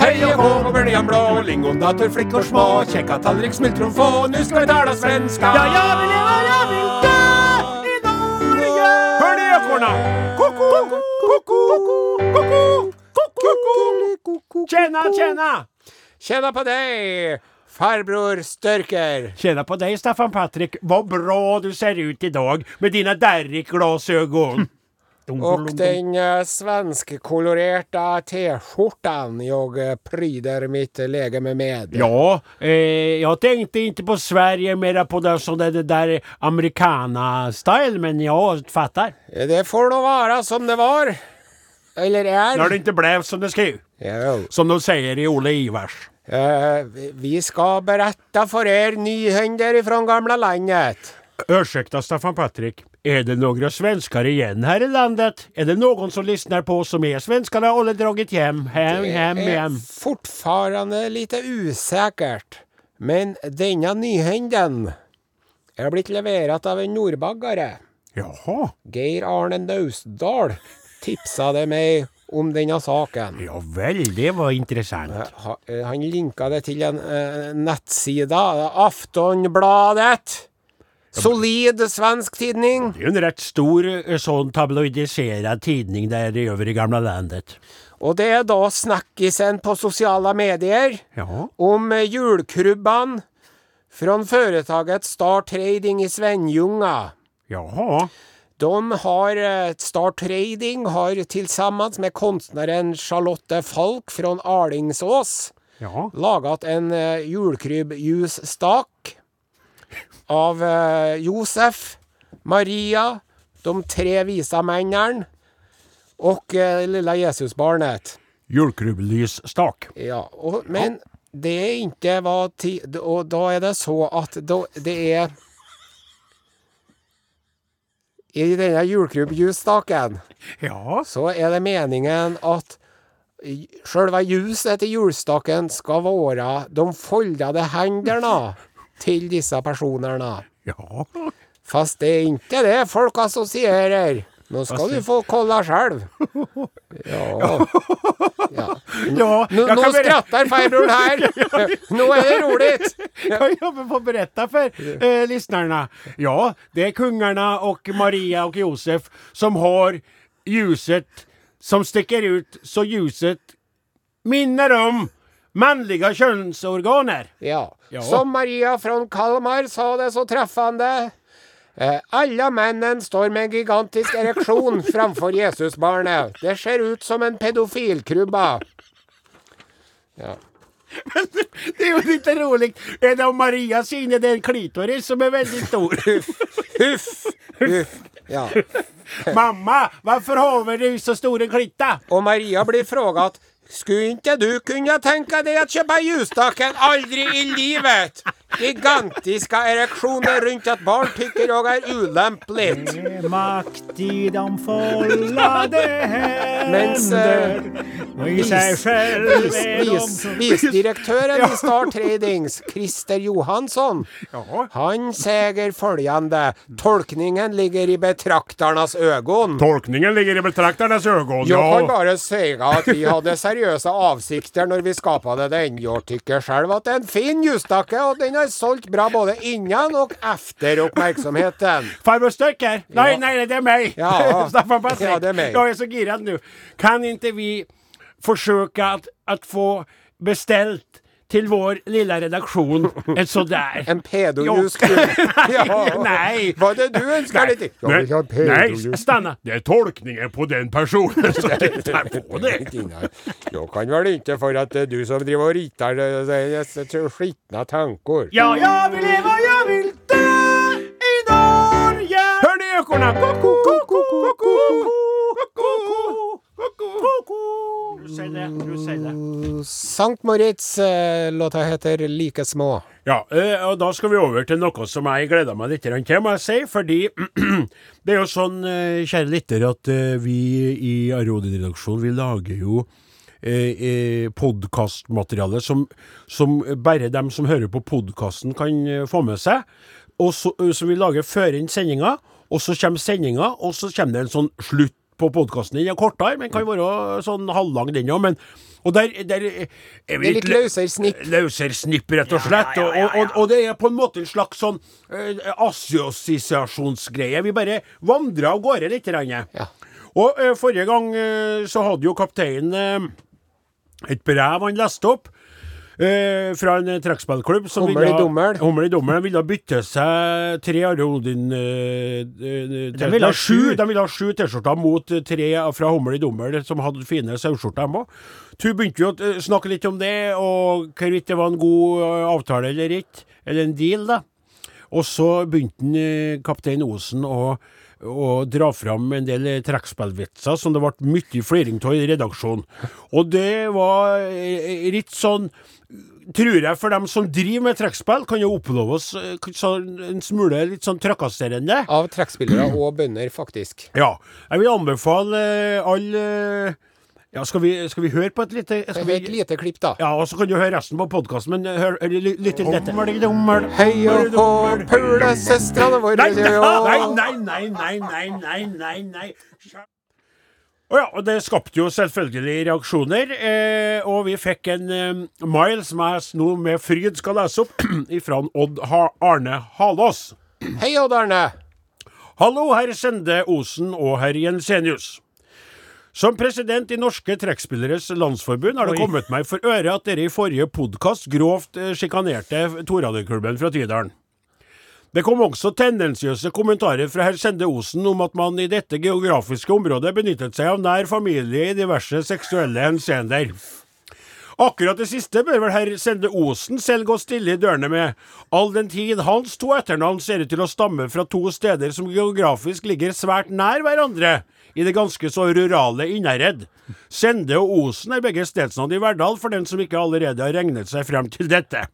Hei og hå på bøljan blå, lingon, dator, flickor små, kjekka tallrik, smultron få, nu skal vi tala svenska.
Ja, ja, vi lever, ja, vi dør i Norge!
Hør det, ekorna! Ko-ko, ko-ko, ko-ko, ko-ko, ko-ko. Tjena, tjena!
Tjena på deg, farbror Størker.
Tjena på deg, Staffan Patrik. Vad bra du ser ut idag med dina derrick-glasögon.
Og den eh, svenskekolorerte T-skjorten jeg pryder mitt legeme med.
Ja, eh, jag tänkte inte på Sverige mera på det, så det, det där americana-style, men jag fattar.
Det får nå være som det var. Eller er.
När det inte blev som det skrev.
Jo.
Som de säger i Olle Ivars.
Eh, vi- vi skal berette for er nyhender fra gamle landet.
Ursäkta Staffan Patrik, är det några svenskar igen här i landet? Är det någon som lyssnar på oss som är svenskar eller dragit hem, hem, hem, hem?
fortfarande lite usikkert, men denne nyhenden er blitt levert av en nordbaggare.
Jaha,
Geir Arne Naustdal tipsa det meg om denne saken.
ja väl, det var intressant.
Ha- eh, Han linka det til en eh, nettside, Aftonbladet. Solid svensk tidning.
Det är ju en rätt stor eh, sån tabloidiserad tidning där över i gamla landet.
Og det er da snakkisen på sosiale medier
Ja.
om eh, julkrubbene fra foretaket Star Trading i Svenljunga.
Jaha.
De har eh, Star Trading har sammen med kunstneren Charlotte Falk fra Arlingsås
Ja.
laget en eh, julekrybbjusstak av eh, Josef, Maria, de tre visa mennene og eh, lille Jesusbarnet.
Julkrubbelys-stak.
Ja, og, men det er ikke hva ti... Og da er det så at da, det er I denne julekrybbjusstaken
Ja.
så er det meningen at sjølve ljuset til julestaken skal være de foldede hendene til disse personene.
Ja.
Fast det er ikke det folk assosierer. Nå skal du få kolla sjøl. Ja. ja.
ja
Nå,
jag
nå
kan berätta.
skrattar farbrorn här! Nå är det roligt!
Ja, jag vill få berätta för eh, lyssnarna. Ja, det är kungarna och Maria och Josef som har ljuset som sticker ut så ljuset minner om manliga könsorganer.
Ja.
Ja.
Som Maria från Kalmar sa det så träffande. Eh, alla männen står med en gigantisk erektion framför Jesusbarnet. Det ser ut som en pedofilkrubba. Ja.
Det är ju lite roligt. Är det om Marias inne det är en klitoris som är väldigt stor.
Huff! Huff. Ja.
Mamma, varför har du så stor en klitta?
Och Maria blir frågad skulle inte du kunna tänka dig att köpa ljusstaken? Aldrig i livet! Gigantiska erektioner runt ett barn tycker jag är olämpligt.
Makt i de foldade
Mens, eh,
händer och i sig
vis-
själv
Vis-
är de
vis- Visdirektören i Star Tradings, Christer Johansson,
Ja.
han säger följande. Tolkningen ligger i betraktarnas ögon.
Tolkningen ligger i betraktarnas ögon.
Jag kan bara säga att vi hade seriösa avsikter när vi skapade den. Jag tycker själv att det är en fin ljusstake och den har sålt bra både innan och efter uppmärksamheten.
Farbror Stöcker? Nej, nej, det är mig!
Ja.
Staffan Bassett.
Ja, det är mig.
Jag är så girad nu. Kan inte vi försöka att, att få beställt till vår lilla redaktion ett sådär?
En pedoljus Ja.
nej.
Vad är det du önskar dig till? Jag vill ha en pedoljus.
nej, stanna! Det är tolkningen på den personen som tittar på det.
Tina, jag kan väl inte för att det är du som driver och ritar eh, det är skitna tankor.
Ja, ja.
Jag vill leva, jag vill dö i Norge
Hör ni ekorna? Koko, koko, koko, koko, koko. Du säger det, du säger det.
Sankt Moritz, eh, låta heter Like små.
Ja, eh, og da skal vi over til noe som jeg gleder meg litt grann til, må jeg si. Fordi det er jo sånn, eh, kjære lytter, at eh, vi i Arodin-redaksjonen, vi lager jo eh, eh, podkastmateriale som, som bare dem som hører på podkasten kan eh, få med seg. Og så, eh, som vi lager før inn sendinga, og så kommer sendinga, og så kommer det en sånn slutt på podkasten. Den er kortere, men kan være sånn halvlang den òg. Og der, der eh, er
Det
vi
er litt løsere snipp.
Lausersnipp, rett og slett.
ja, ja, ja.
Og, og, og det er på en måte en slags sånn eh, assosiasjonsgreie. Vi bare vandrer av gårde litt. grann.
Ja.
Og eh, forrige gang eh, så hadde jo kapteinen eh, et brev han leste opp. eh, fra en eh, trekkspillklubb som
Hummel i dommel.
Hummel i dommel ville bytte seg tre Are Odin eh, eh,
De ville ha
Nei,
sju.
De ville ha sju T-skjorter mot eh, tre fra Hummel i dommel som hadde fine saueskjorter, de òg. Tu begynte jo å eh, snakke litt om det, og hvorvidt det var en god eh, avtale eller ikke. Eller en deal, da. Og så begynte han, eh, kaptein Osen å, å dra fram en del eh, trekkspillvitser som det ble mye fliring av i redaksjonen. Og det var eh, litt sånn Tror jeg for dem som driver med trekkspill, kan jo oppleves eh, så en smule litt sånn trakasserende.
Av trekkspillere og bønder, faktisk.
Ja. Jeg vil anbefale eh, alle eh, ja, skal, vi, skal vi høre på et lite skal
Med et
vi,
lite klipp, da.
Ja, og så kan du høre resten på podkasten, men eh, hør, eller ly- lytt til dette.
Hei og hå, pulesøstrene våre
Nei, nei, nei, nei, nei, nei, nei, nei, nei. Og ja, og det skapte jo selvfølgelig reaksjoner, eh, og vi fikk en eh, mail som jeg nå med fryd skal lese opp, ifra en Odd ha Arne Halås.
Hei, Odd Arne.
Hallo, herr Sende Osen og herr Jensenius. Som president i Norske Trekkspilleres Landsforbund har det
Oi.
kommet meg for øre at dere i forrige podkast grovt eh, sjikanerte Toradeklubben fra Tydalen. Det kom også tendensiøse kommentarer fra herr Sende Osen om at man i dette geografiske området benyttet seg av nær familie i diverse seksuelle henseender. Akkurat det siste bør vel herr Sende Osen selv gå stille i dørene med, all den tid hans to etternavn ser ut til å stamme fra to steder som geografisk ligger svært nær hverandre, i det ganske så rurale Innherred. Sende og Osen er begge stedsnavn i Verdal, for den som ikke allerede har regnet seg frem til dette.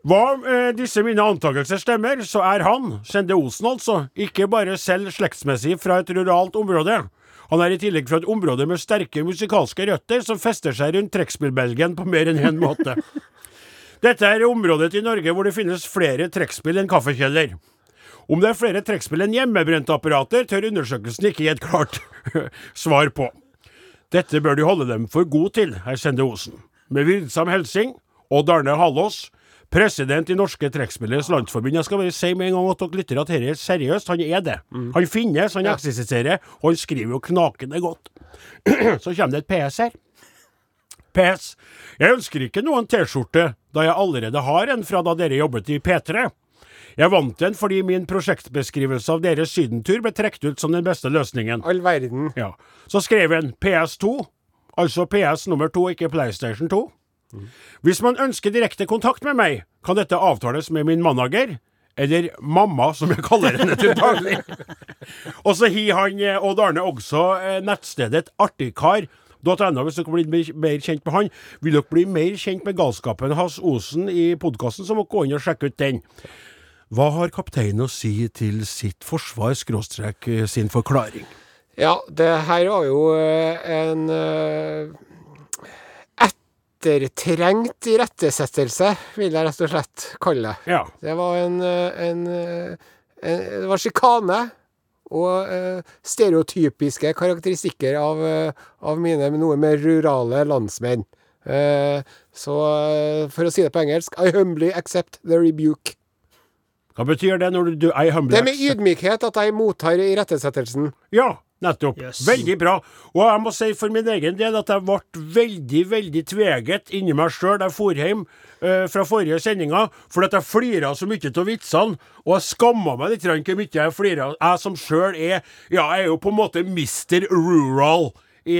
Hva om eh, disse mine antakelser stemmer, så er han, Sende Osen altså, ikke bare selv slektsmessig fra et ruralt område. Han er i tillegg fra et område med sterke musikalske røtter som fester seg rundt trekkspillbelgen på mer enn én måte. Dette er området i Norge hvor det finnes flere trekkspill enn kaffekjeller. Om det er flere trekkspill enn hjemmebrenteapparater, tør undersøkelsen ikke gi et klart svar på. Dette bør du holde dem for god til, herr Sende Osen. Med vildsam hilsing Odd Arne Hallås, president i Norske Trekkspilleres Landsforbund. Jeg skal bare si med en gang at dere lytter at dette er seriøst. Han er det. Han finnes, han eksisterer, og han skriver jo knakende godt. Så kommer det et PS her. PS. Jeg ønsker ikke noen T-skjorte, da jeg allerede har en fra da dere jobbet i P3. Jeg vant den fordi min prosjektbeskrivelse av deres sydentur ble trukket ut som den beste løsningen.
All verden.
Ja. Så skrev han PS2, altså PS nummer 2, ikke PlayStation 2. Hvis man ønsker direkte kontakt med meg, kan dette avtales med min manager, eller mamma, som jeg kaller henne til daglig. Og så har han eh, Odd Arne også eh, nettstedet artigkar.no, hvis dere blir mer- mer kjent med han. Vil dere bli mer kjent med galskapen hans Osen i podkasten, så må dere gå inn og sjekke ut den. Hva har kapteinen å si til sitt forsvar, skråstrek eh, sin forklaring?
Ja, det her var jo eh, en eh, ettertrengt irettesettelse, vil jeg rett og slett kalle det.
Ja.
Det var en, eh, en, eh, en Det var sjikane. Og eh, stereotypiske karakteristikker av, eh, av mine noe mer rurale landsmenn. Eh, så eh, for å si det på engelsk I humbly accept the rebuke.
Hva betyr det når du, du er humble?
Det er med ydmykhet at jeg mottar irettesettelsen.
Ja, nettopp.
Yes.
Veldig bra. Og jeg må si for min egen del at jeg ble veldig, veldig tveget inni meg sjøl da jeg for hjem eh, fra forrige sendinga, fordi at jeg flira så mye av vitsene, og jeg skamma meg litt grann hvor mye jeg flira. Jeg som sjøl er Ja, jeg er jo på en måte Mr. Rural. I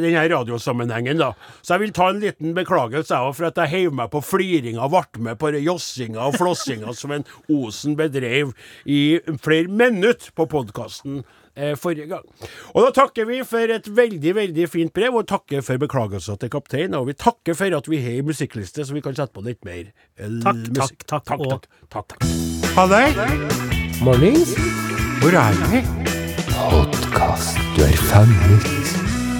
denne radiosammenhengen, da. Så jeg vil ta en liten beklagelse jeg også, for at jeg heiv meg på fliringa, ble med på det jossinga og flossinga som en Osen bedrev i flere minutter på podkasten eh, forrige gang. Og da takker vi for et veldig, veldig fint brev, og takker for beklagelser til kapteinen. Og vi takker for at vi har ei musikkliste, så vi kan sette på litt mer eh,
Takk,
musikk.
takk, takk,
takk,
og-
takk, takk, takk. Ha det!
Mornings.
Hvor er vi?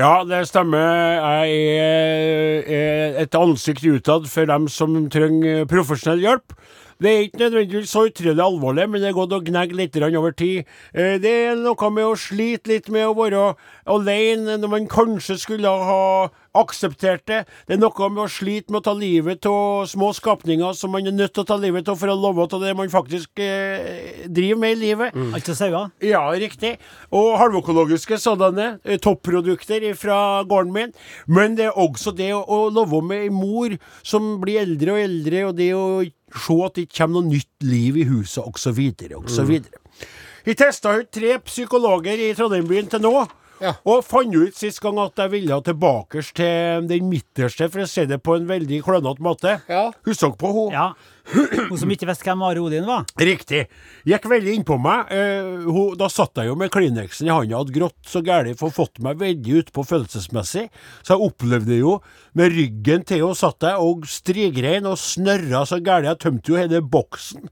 Ja, det stemmer. Jeg er, er et ansikt utad for dem som trenger profesjonell hjelp. Det er ikke nødvendigvis så utrolig alvorlig, men det er godt å gnegge litt grann over tid. Eh, Det er noe med å slite litt med å være alene når man kanskje skulle ha akseptert det. Det er noe med å slite med å ta livet av små skapninger som man er nødt til å ta livet av for å leve av det man faktisk eh, driver med i livet.
Altså sauer.
Ja, riktig. Og halvøkologiske sådanne. eh, Topprodukter fra gården min. Men det er også det å, å leve med ei mor som blir eldre og eldre, og det å se at det kommer noe nytt liv i huset, osv.,
Mm.
osv. Vi testa ut tre psykologer i Trondheim-byen til nå.
Ja.
Og fant ut sist gang at jeg ville tilbake til den midterste, for å si det på en veldig klønete måte.
Ja.
Husker dere på henne?
Ja. Hun som ikke visste hvem Are Odin var.
Riktig. Gikk veldig innpå meg. Eh, hun, da satt jeg jo med Kleenexen i hånda og hadde grått så gæli for fått meg veldig utpå følelsesmessig. Så jeg opplevde jo Med ryggen til henne satt jeg og strigrein og snørra så gæli. Jeg tømte jo hele boksen.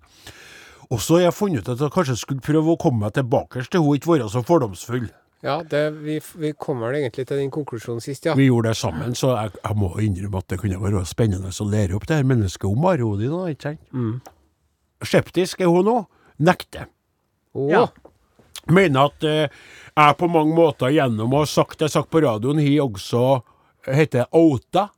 Og så har jeg funnet ut at jeg kanskje skulle prøve å komme meg tilbake til hun ikke være så fordomsfull.
Ja, det, vi, vi kom vel egentlig til den konklusjonen sist, ja.
Vi gjorde det sammen, så jeg, jeg må innrømme at det kunne være spennende å lære opp det her mennesket om Arodi, da, ikke sant? Skeptisk er hun nå. Nekter.
Å,
Ja.
mener at eh, jeg på mange måter gjennom å ha sagt det jeg har sagt på radioen, har også eh, heter outa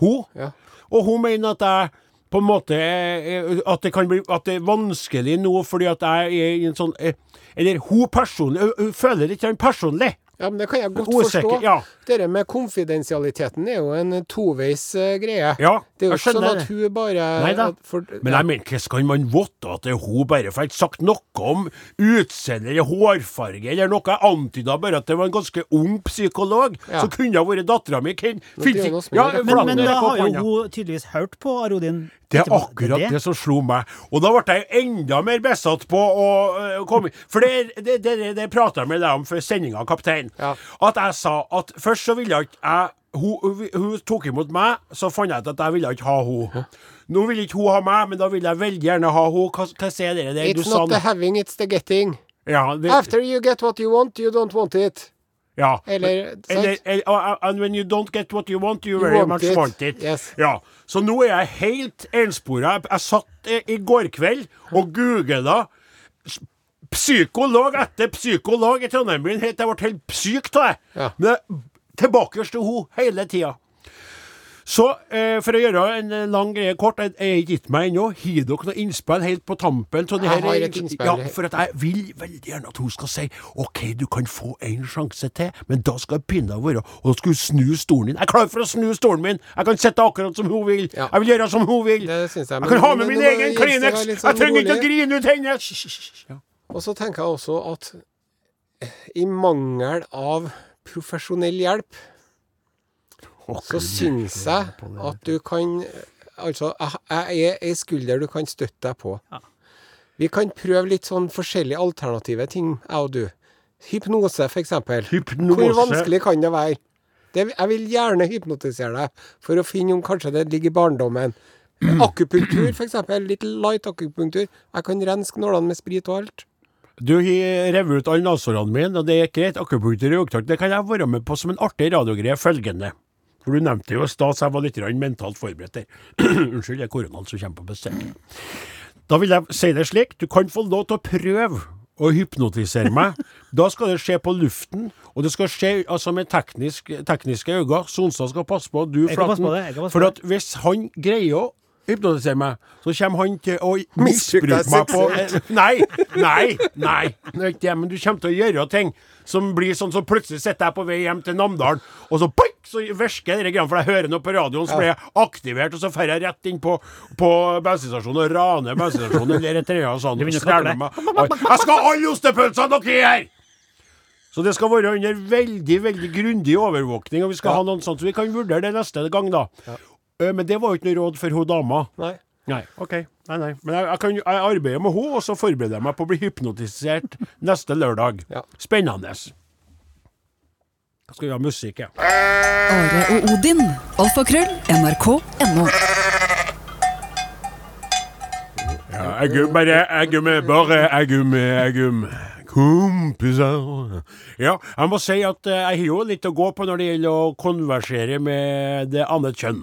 hun.
Ja.
Og hun mener at jeg på en måte eh, At det kan bli At det er vanskelig nå fordi at jeg er i en sånn eh, Eller hun personlig hun- Hun føler det ikke personlig.
ja, men det kan jeg godt
Ordsikker,
forstå.
ja.
Dette med konfidensialiteten er jo en toveis eh, greie.
Ja,
det er jo
jeg
ikke sånn
skjønner
at
det.
hun bare
Neida.
at for-
Men jeg mener, hvordan kan man vite at det er hun bare for jeg har ikke sagt noe om utseende eller hårfarge eller noe? Jeg antyda bare at det var en ganske ung psykolog
Ja.
som kunne ha vært dattera mi. Hvem finnes
er noe
ikke
som er
ja,
rett.
Men,
flaten
men da
rekk opp
har jo
hånda.
hun tydeligvis hørt på Are Odin.
Det er
etterpå.
akkurat det som slo meg. Og da ble jeg jo enda mer besatt på å øh, komme For det, det, det, det, det prata jeg med deg om før sendinga, kaptein.
Ja.
At jeg sa at først så ville jeg ikke jeg hun, hun, hun tok imot meg, så fant jeg ut at jeg ville ikke ha hun. Nå vil ikke hun ha meg, men da vil jeg veldig gjerne ha hun. Hva, hva sier dere? Det
It's not the having, it's the getting.
ja, det,
After you get what you want, you don't want it.
ja.
Eller
Eller,
sant?
eller, uh, and when you don't get what you want, you very
want
much
it.
want it.
Yes.
Ja. Så nå er jeg helt enspora. Jeg, jeg satt eh, i går kveld og googla psykolog etter psykolog i Trondheim-byen. helt- Jeg ble helt syk av det.
Ja.
Men jeg- tilbakest til hun hele tida. Så eh, for å gjøre en eh, lang greie kort, jeg jeg har ikke gitt meg ennå. Har dere noe innspill helt på tampen? Så det
Jeg
her
har
er- liksom-
et innspill.
Ja, for at jeg vil veldig gjerne at hun skal si OK, du kan få en sjanse til, men da skal jeg pinadø være Og da skal hun snu stolen din. Jeg er klar for å snu stolen min! Jeg kan sitte akkurat som hun vil!
Ja.
Jeg vil gjøre som hun vil!
Det synes jeg,
jeg
men-
kan ha med
men
min
du må
egen
helst være
Kleenex!
litt
Jeg
sånn
trenger ikke å
rolig.
grine ut hennes! Ja.
Og så tenker jeg også at i mangel av profesjonell hjelp, så syns jeg at du kan Altså, jeg- jeg er ei skulder du kan støtte deg på. Vi kan prøve litt sånn forskjellige alternative ting, jeg og du. Hypnose, for eksempel.
Hypnose.
Hvor vanskelig kan det være? Det, jeg vil gjerne hypnotisere deg for å finne om kanskje det ligger i barndommen. Akupunktur, for eksempel. Litt light akupunktur. Jeg kan renske nålene med sprit og alt.
Du har revet ut alle nasårene mine, og det er greit. Akupunktur i opptak, det kan jeg være med på som en artig radiogreie følgende. For du nevnte jo i stad, så jeg var litt grann mentalt forberedt der. Unnskyld, det er koronaen som kommer på besøk. Da vil jeg si det slik, du kan få lov til å prøve å hypnotisere meg. Da skal det skje på luften, og det skal skje altså, med teknisk, tekniske øyne. Sonstad skal passe på, du
Jeg kan passe
Flaten.
på det, jeg kan passe
For
på
at hvis han greier å hypnotisere meg, så kommer han til å
Misbruke deg
misbruke meg på Nei, nei, nei. Det er ikke det, men du kommer til å gjøre ting som blir sånn som plutselig sitter jeg på vei hjem til Namdalen, og så boink, så virker det greiene, for jeg hører noe på radioen, så blir jeg aktivert, og så drar jeg rett inn på, på bensinstasjonen og raner bensinstasjonen eller et eller annet sånt.
Du begynner å
sånn,
kakle.
Stjeler meg. Jeg skal ha alle ostepølsene dere har her! Så det skal være under veldig veldig grundig overvåkning, og vi skal ha noen sånt, så vi kan vurdere det neste gang, da. Eh, Men det var jo ikke noe råd for hun dama.
Nei.
Nei. OK. Nei, nei. Men jeg, jeg, kan, jo- jeg arbeider med henne, og så forbereder jeg meg på å bli hypnotisert neste lørdag.
Ja.
Spennende. Da skal vi ha musikk, ja.
Are og Odin. Alfakrøll. NRK.no.
ja eggum, bare eggum, bare eggum, eggum. Kompiser Ja, jeg må si at eh, jeg har jo litt å gå på når det gjelder å konversere med det annet kjønn.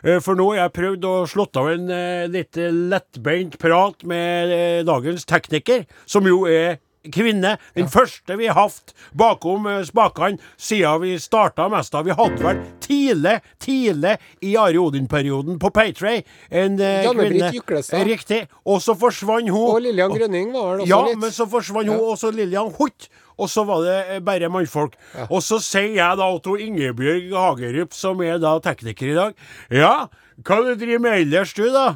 Eh, For nå har jeg prøvd å slått av en eh, litt lettbeint prat med eh, dagens tekniker, som jo er kvinne. Den første vi har hatt bakom eh, spakene siden vi starta mesta. Vi hadde vel tidlig, tidlig i Ari Odin-perioden på Paytray en eh,
Janne-Britt
kvinne.
Juklestad.
Riktig. Og så forsvant hun.
Og Lillian Grønning var vel også
Ja,
litt.
men så forsvant hun,
Ja.
og så Lillian Hutt. Og så var det eh, bare mannfolk. Og så sier jeg da Otto Ingebjørg Hagerup, som er da tekniker i dag, ja, hva du driver med ellers, du, da?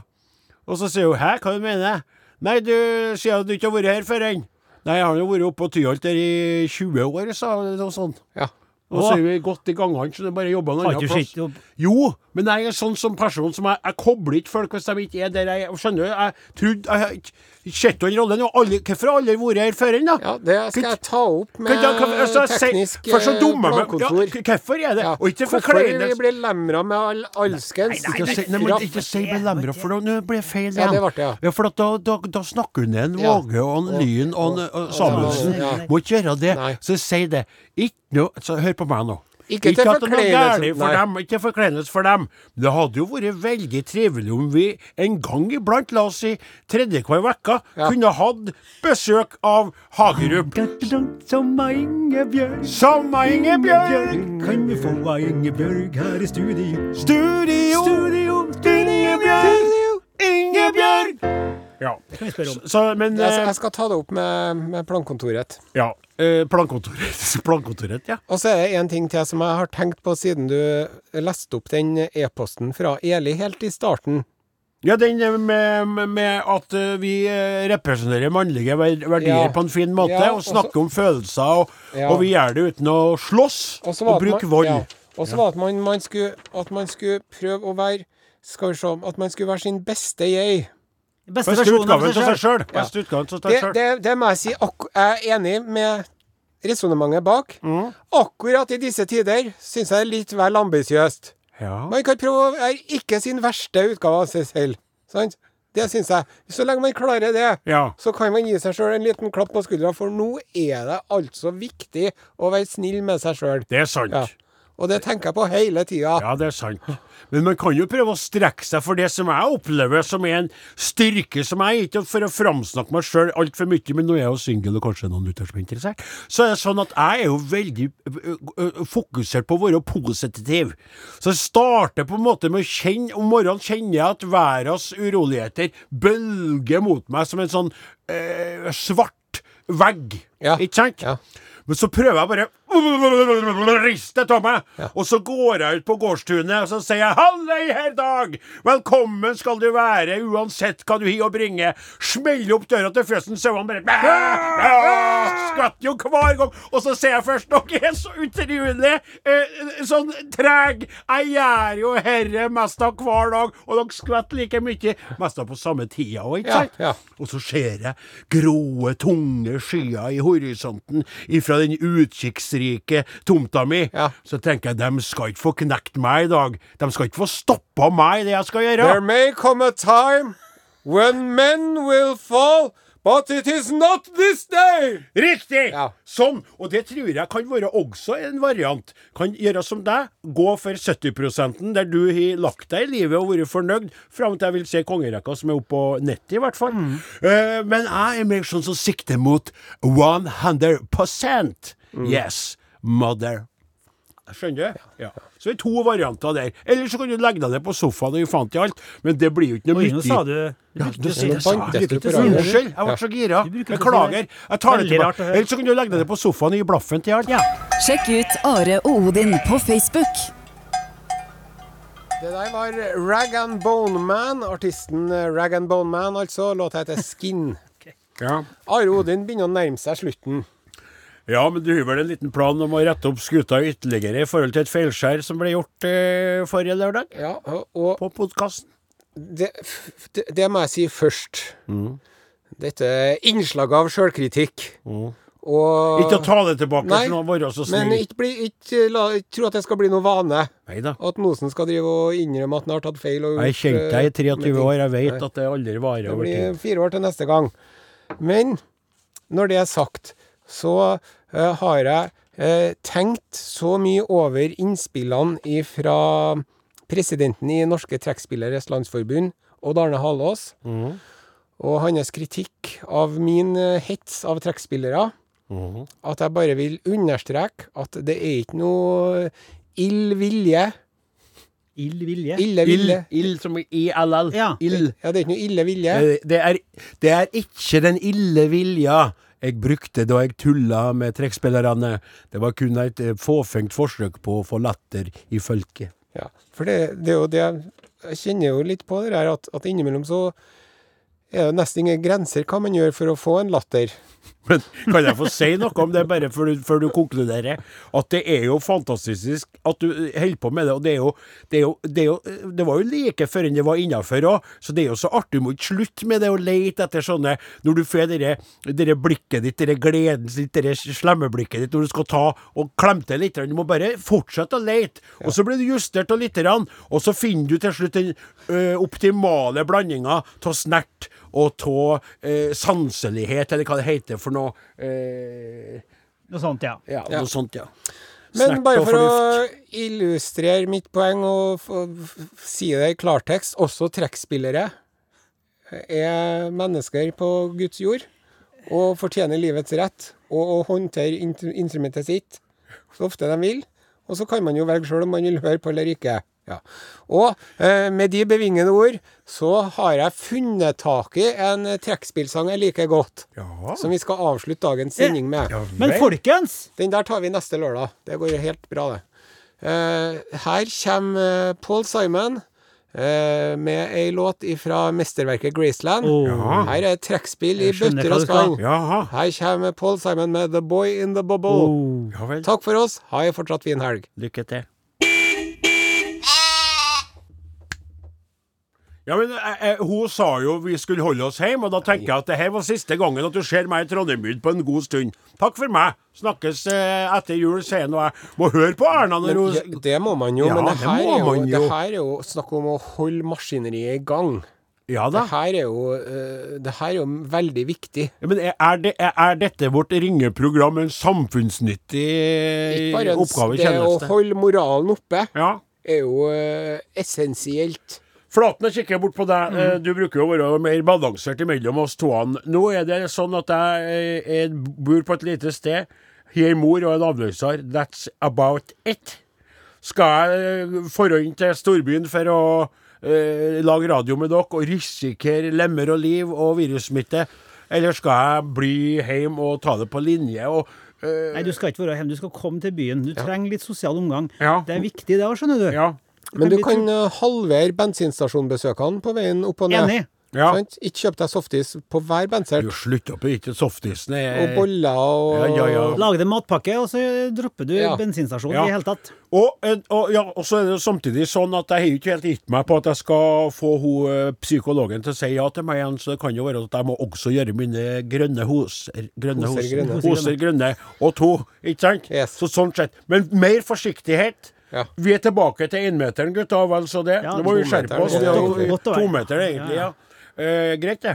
Og så sier hun hæ, hva du mener jeg? Nei, du sier at du ikke har vært her før enn. Nei, jeg har jo vært oppe på Tyholt der i 20 år, sa hun, eller noe sånt.
Ja.
Og så er vi godt i gangene, så det er bare å jobbe en
Har
annen
ikke
plass.
sett opp-
Jo, men jeg er sånn som person som jeg, jeg kobler ikke folk hvis de ikke er der jeg Skjønner du? Jeg trodde jeg har ikke sett den rollen. og aldri- Hvorfor har alle vært her før enn, da?
ja, det skal jeg ta opp
Kan
med
ikke- kan- altså, jeg sier-
teknisk
for så
eh,
dumme med-
plankontor.
Ja, hvorfor er det?
Ja.
Og ikke for
Hvorfor
kleinest.
vi blir lemra med all, alskens
Ikke si- nei, men Ikke si belemra, for da nå blir det feil
Ja,
igjen.
det ble det, ja.
for at da, da, da snakker hun ned en
Ja.
Våge og en Lyn og en og Samuelsen.
Ja.
Må ikke gjøre det.
Nei.
Så si det. Ikke noe så Hør på meg nå.
Ikke til
at det er noe
forkleinelse,
gærlig for
nei.
dem, ikke forkleinelse for dem. Men det hadde jo vært veldig trivelig om vi en gang iblant, la oss si tredje hver uke,
Ja.
kunne hatt besøk av Hagerup.
Som av Ingebjørg,
Som av Ingebjørg!
kan vi få av Ingebjørg her i studio?
Studio!
Studio,
Ingebjørg! Ingebjørg! Ja.
Kan jeg spørre om?
Så, men
Jeg,
eh,
jeg skal ta det opp med, med plankontoret.
Ja. Eh, plankontoret. plankontoret, ja.
Og så er det en ting til som jeg har tenkt på siden du leste opp den e-posten fra Eli helt i starten.
Ja, den eh, med, med- med at eh, vi eh, representerer mannlige ver- verdier
Ja.
på en fin måte,
Ja,
og
og så-
snakker om følelser, og,
Ja.
og vi gjør det uten å slåss
Og
og,
så var det at
bruke
man-
vold.
ja. Og så var det at man, man skulle, at man skulle prøve å være Skal vi se At man skulle være sin beste jeg.
Beste
Beste
versjonen av
utgaven til
seg selv.
seg sjøl. Beste utgaven til
Det,
seg sjøl.
det, det må jeg si. akku- Jeg er enig med resonnementet bak.
Mm.
Akkurat i disse tider syns jeg det er litt vel ambisiøst.
Ja.
Man kan prøve å være ikke sin verste utgave av seg selv. Sant? Det syns jeg. Så lenge man klarer det,
Ja.
så kan man gi seg sjøl en liten klapp på skuldra, for nå er det altså viktig å være snill med seg sjøl.
Det er sant.
Ja. Og det tenker jeg på hele tida.
Ja, det er sant. Men man kan jo prøve å strekke seg for det som jeg opplever som er en styrke som jeg ikke For å framsnakke meg sjøl altfor mye, men nå er jeg jo singel og kanskje noen lytter som er interessert, så er det sånn at jeg er jo veldig ø, ø, ø, fokusert på å være positiv. Så jeg starter på en måte med å kjenne Om morgenen kjenner jeg at verdens uroligheter bølger mot meg som en sånn eh, svart vegg.
Ja.
Ikke sant?
Ja.
Men så prøver jeg bare Riste av meg! Og så går jeg ut på gårdstunet og så sier jeg 'Hallei, herr Dag! Velkommen skal du være, uansett hva du har å bringe'. Smeller opp døra til fjøsen, sauene bare «Bæ! Bæ!» Skvatter jo hver gang. Og så sier jeg først 'Dere er så utrolig eh, sånn treg'. Jeg gjør jo herre mest av hver dag, og dere skvetter like mye. Mest av på samme tida òg, ikke
Ja,
sant?
ja.
Og så ser jeg gråe, tunge skyer i horisonten ifra den utkikksrike tomta mi.
Ja.
Så tenker jeg, de skal ikke få knekt meg i dag. De skal ikke få stoppa meg i det jeg skal gjøre.
There may come a time when men will fall, but it is not this day!
Riktig!
Ja.
Sånn. Og det tror jeg kan være også en variant. Kan gjøre som deg, gå for 70 der du har lagt deg i livet og vært fornøyd, fram til jeg vil se kongerekka som er oppe på 90, i hvert fall. Eh, men jeg er mer sånn som sikter mot 100 Mm. Yes, mother. Skjønner du? Ja. Så det er to varianter der. Eller så kan du legge deg ned på sofaen og gi faen til alt, men det blir jo ikke noe
Oi, nå
nyttig.
sa du
Ja, du
Du sånn.
sier det
nå bandt
sa jeg.
du på radioen.
Unnskyld, jeg ble så gira.
Du bruker ikke å si
Beklager.
det.
Jeg tar det
Veldig rart
tilbake.
å høre.
Eller så kan du legge deg ned på sofaen og gi blaffen til alt. Ja.
Sjekk ut Are og Odin på Facebook.
Det der var Rag and Bone Man, artisten Rag and Bone Man, altså. Låta heter Skin.
Ja.
Are Odin begynner å nærme seg slutten.
men du har vel en liten plan om å rette opp skuta ytterligere i forhold til et feilskjær som ble gjort eh, forrige lørdag?
Ja, og- og
På podkasten?
det, f- det, det må jeg si først.
Mm.
Dette innslaget av sjølkritikk. Og
Mm. Ikke å ta det tilbake,
Nei,
sånn å være så
Men
snill.
ikke, bli, ikke la, ikke tro at det skal bli noe vane.
Neida.
At Nosen skal drive og innrømme at han har tatt feil. Og eh,
Jeg har kjent deg i 23 år, jeg
Nei.
vet at det aldri varer
Det
over
blir
tid.
fire år til neste gang. Men når det er sagt, så eh, har jeg eh, tenkt så mye over innspillene fra presidenten i Norske Trekkspilleres Landsforbund, Odd Arne Halås,
Mhm.
og hans kritikk av min eh, hets av trekkspillere,
Mhm.
at jeg bare vil understreke at det er ikke noe ill vilje.
Ild vilje.
Ille vilje.
Ild som i ILL.
Ja.
Ild.
Ja, det er ikke noe ille vilje.
Det, Eh, det, er, det er ikke den ille vilja jeg brukte da jeg tulla med trekkspillerne. Det var kun et eh, fåfengt forsøk på å få latter i folket.
Ja, for det, det er jo det Jeg kjenner jo litt på det der at, at innimellom så er det nesten ingen grenser hva man gjør for å få en latter.
Men kan jeg få si noe om det, bare før du, før du konkluderer? At det er jo fantastisk at du eh, holder på med det. Og det er jo Det, er jo, det, er jo, eh, det var jo like før enn det var innafor òg, så det er jo så artig. Du må ikke slutte med det å lete etter sånne Når du får dere, dere blikket ditt, dere gleden ditt, dere slemme blikket ditt når du skal ta og klemme til litt. Du må bare fortsette å lete. Og så blir du justert av lite grann, og så finner du til slutt den eh, optimale blandinga av snert og av eh, sanselighet, eller hva det heter for noe. Eh,
Noe sånt, ja.
ja,
Ja.
noe sånt, ja.
Men
Snert
bare
og
for å
fornuft.
illustrere mitt poeng og f f si det i klartekst, også trekkspillere er mennesker på Guds jord og fortjener livets rett og å håndtere int- instrumentet sitt så ofte de vil. Og så kan man jo velge sjøl om man vil høre på eller ikke. Ja. Og eh, med de bevingede ord så har jeg funnet tak i en eh, trekkspillsang jeg liker godt,
Ja.
som vi skal avslutte dagens sending med.
Men folkens!
Den der tar vi neste lørdag. Det går jo helt bra, det. Eh, her kommer eh, Paul Simon eh, med ei låt fra mesterverket Graceland. Her er trekkspill
Oh.
i
Jeg skjønner
bøtter
hva du
og
skal.
spann.
Jaha.
Her kommer Paul Simon med The Boy in the Bubble.
Oh.
Ja vel.
Takk for oss. Ha ei fortsatt fin helg.
Lykke til. Ja, men eh, eh, Hun sa jo vi skulle holde oss hjemme, og da tenker jeg at det her var siste gangen at du ser meg i Trondheim-byen på en god stund. Takk for meg. Snakkes eh, etter jul, sier nå jeg. Må høre på Erna når
Men,
hun
ja, det må man jo,
Ja,
men det
det
her,
må
er jo,
man
det
jo.
her er jo snakk om å holde maskineriet i gang.
Ja
Det
da.
her er jo, eh, det her er jo veldig viktig.
Ja, Men er, er, det, er- er dette vårt ringeprogram en samfunnsnyttig
Ikke
eh,
bare en-
oppgave,
det å
kjennes det?
holde moralen oppe.
Ja.
er jo eh, essensielt.
Flaten, jeg kikker bort på
Mm.
deg. Eh, Du bruker jo å være mer balansert imellom oss toene. Nå er det sånn at jeg, eh, jeg bor på et lite sted, har en mor og en avløser. That's about it. Skal jeg eh, fara inn til storbyen for å eh, lage radio med dere og risikere lemmer og liv og virussmitte? Eller skal jeg bli hjemme og ta det på linje? Og, eh,
Nei, du skal ikke være hjemme, du skal komme til byen. Du trenger litt sosial omgang.
Ja.
Det er viktig, det òg, skjønner du.
ja.
Men
Men
du
vi
kan eh, halvere bensinstasjonbesøkene på veien opp og ned.
Enig.
Ja.
Sant? Ikke kjøp deg softis på hver
Du,
bensin.
slutt opp med ikke softisene.
Og boller og
Ja, ja, ja.
Lage deg matpakke, og så dropper du
Ja.
bensinstasjonen
Ja.
i hele tatt.
Og, eh, og, ja, og så er det jo samtidig sånn at jeg har jo ikke helt gitt meg på at jeg skal få hun, eh, psykologen til å si ja til meg igjen, så det kan jo være at jeg må også gjøre mine grønne hoser grønne
Hoser
hoser,
grønne.
hoser grønne og to, ikke sant?
Yes.
Så sånn sett. Men mer forsiktighet.
Ja.
Vi er tilbake til énmeteren, gutta. Vel så det.
Ja,
Nå må vi skjerpe
tometeren,
oss.
ja.
Vi er jo
Godt å være.
tometeren, egentlig. ja. Eh, greit, det.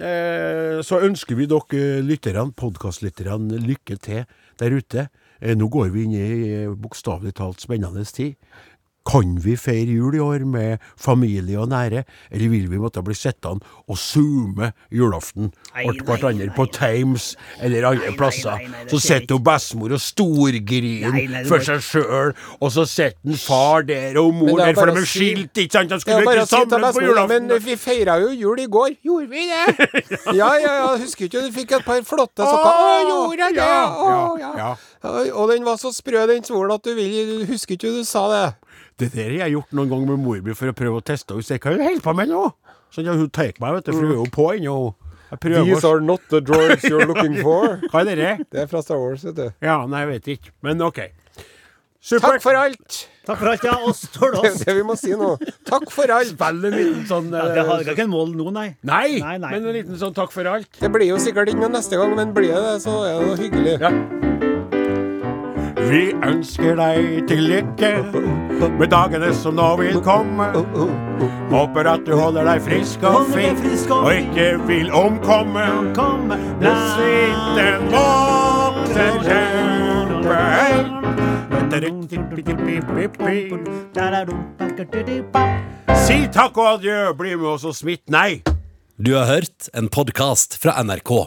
Eh, så ønsker vi dere eh, lytterne, podkastlytterne, lykke til der ute. Eh, nå går vi inn i eh, bokstavelig talt spennende tid. Kan vi feire jul i år med familie og nære, eller vil vi måtte bli sittende og zoome julaften
Nei,
og
nei,
hverandre
nei,
på Times eller andre plasser?
nei, nei, det
så
skjer
sitter jo bestemor og
Nei,
storgriner
nei, det
for
må
seg sjøl, og så sitter en far der og mor
Men det er
der, for
bare
de
å
er
si-
skilt, ikke sant? De
Det er
skulle
jo bare
ikke
å si til
sammen på
bestemor,
julaften.
Men eh, vi feira jo jul i går. Gjorde vi det? Ja, ja, ja. Husker ikke du fikk et par flotte sokker? Å, gjorde jeg det? Å,
Ja,
ja.
ja, ja.
Oi, Og den var så sprø, den svoren, at du vil du Husker ikke du sa det?
Det der har jeg gjort noen ganger med mor mi for å prøve å teste henne. Så jeg kan jo holde på med nå. Sånn at hun tar meg, vet du, for hun er jo på ennå. Jeg prøver å
are not the droids you're looking for.
Hva er det?
Det er fra Star Wars, vet du.
Ja, nei, jeg vet ikke. Men OK.
Takk
Supert.
for alt!
Takk for alt, ja. Og stål
Det er
oss.
det vi må si nå. Takk for alt!
Vel en liten sånn
Ja, det har
eh,
det er ikke en mål nå, nei.
Nei,
Nei, nei.
men en liten sånn takk for alt.
Det blir jo sikkert ikke noe neste gang, men blir det det, så er det noe hyggelig.
Ja. Vi ønsker deg til lykke med dagene som nå vil komme.
Oh.
Håper at du holder deg frisk og
Holder deg
fin
frisk og
og ikke vil omkomme. Desviten våkner kjempehelt. Si takk og adjø, bli med oss og smitt nei.
Du har hørt en podkast fra NRK.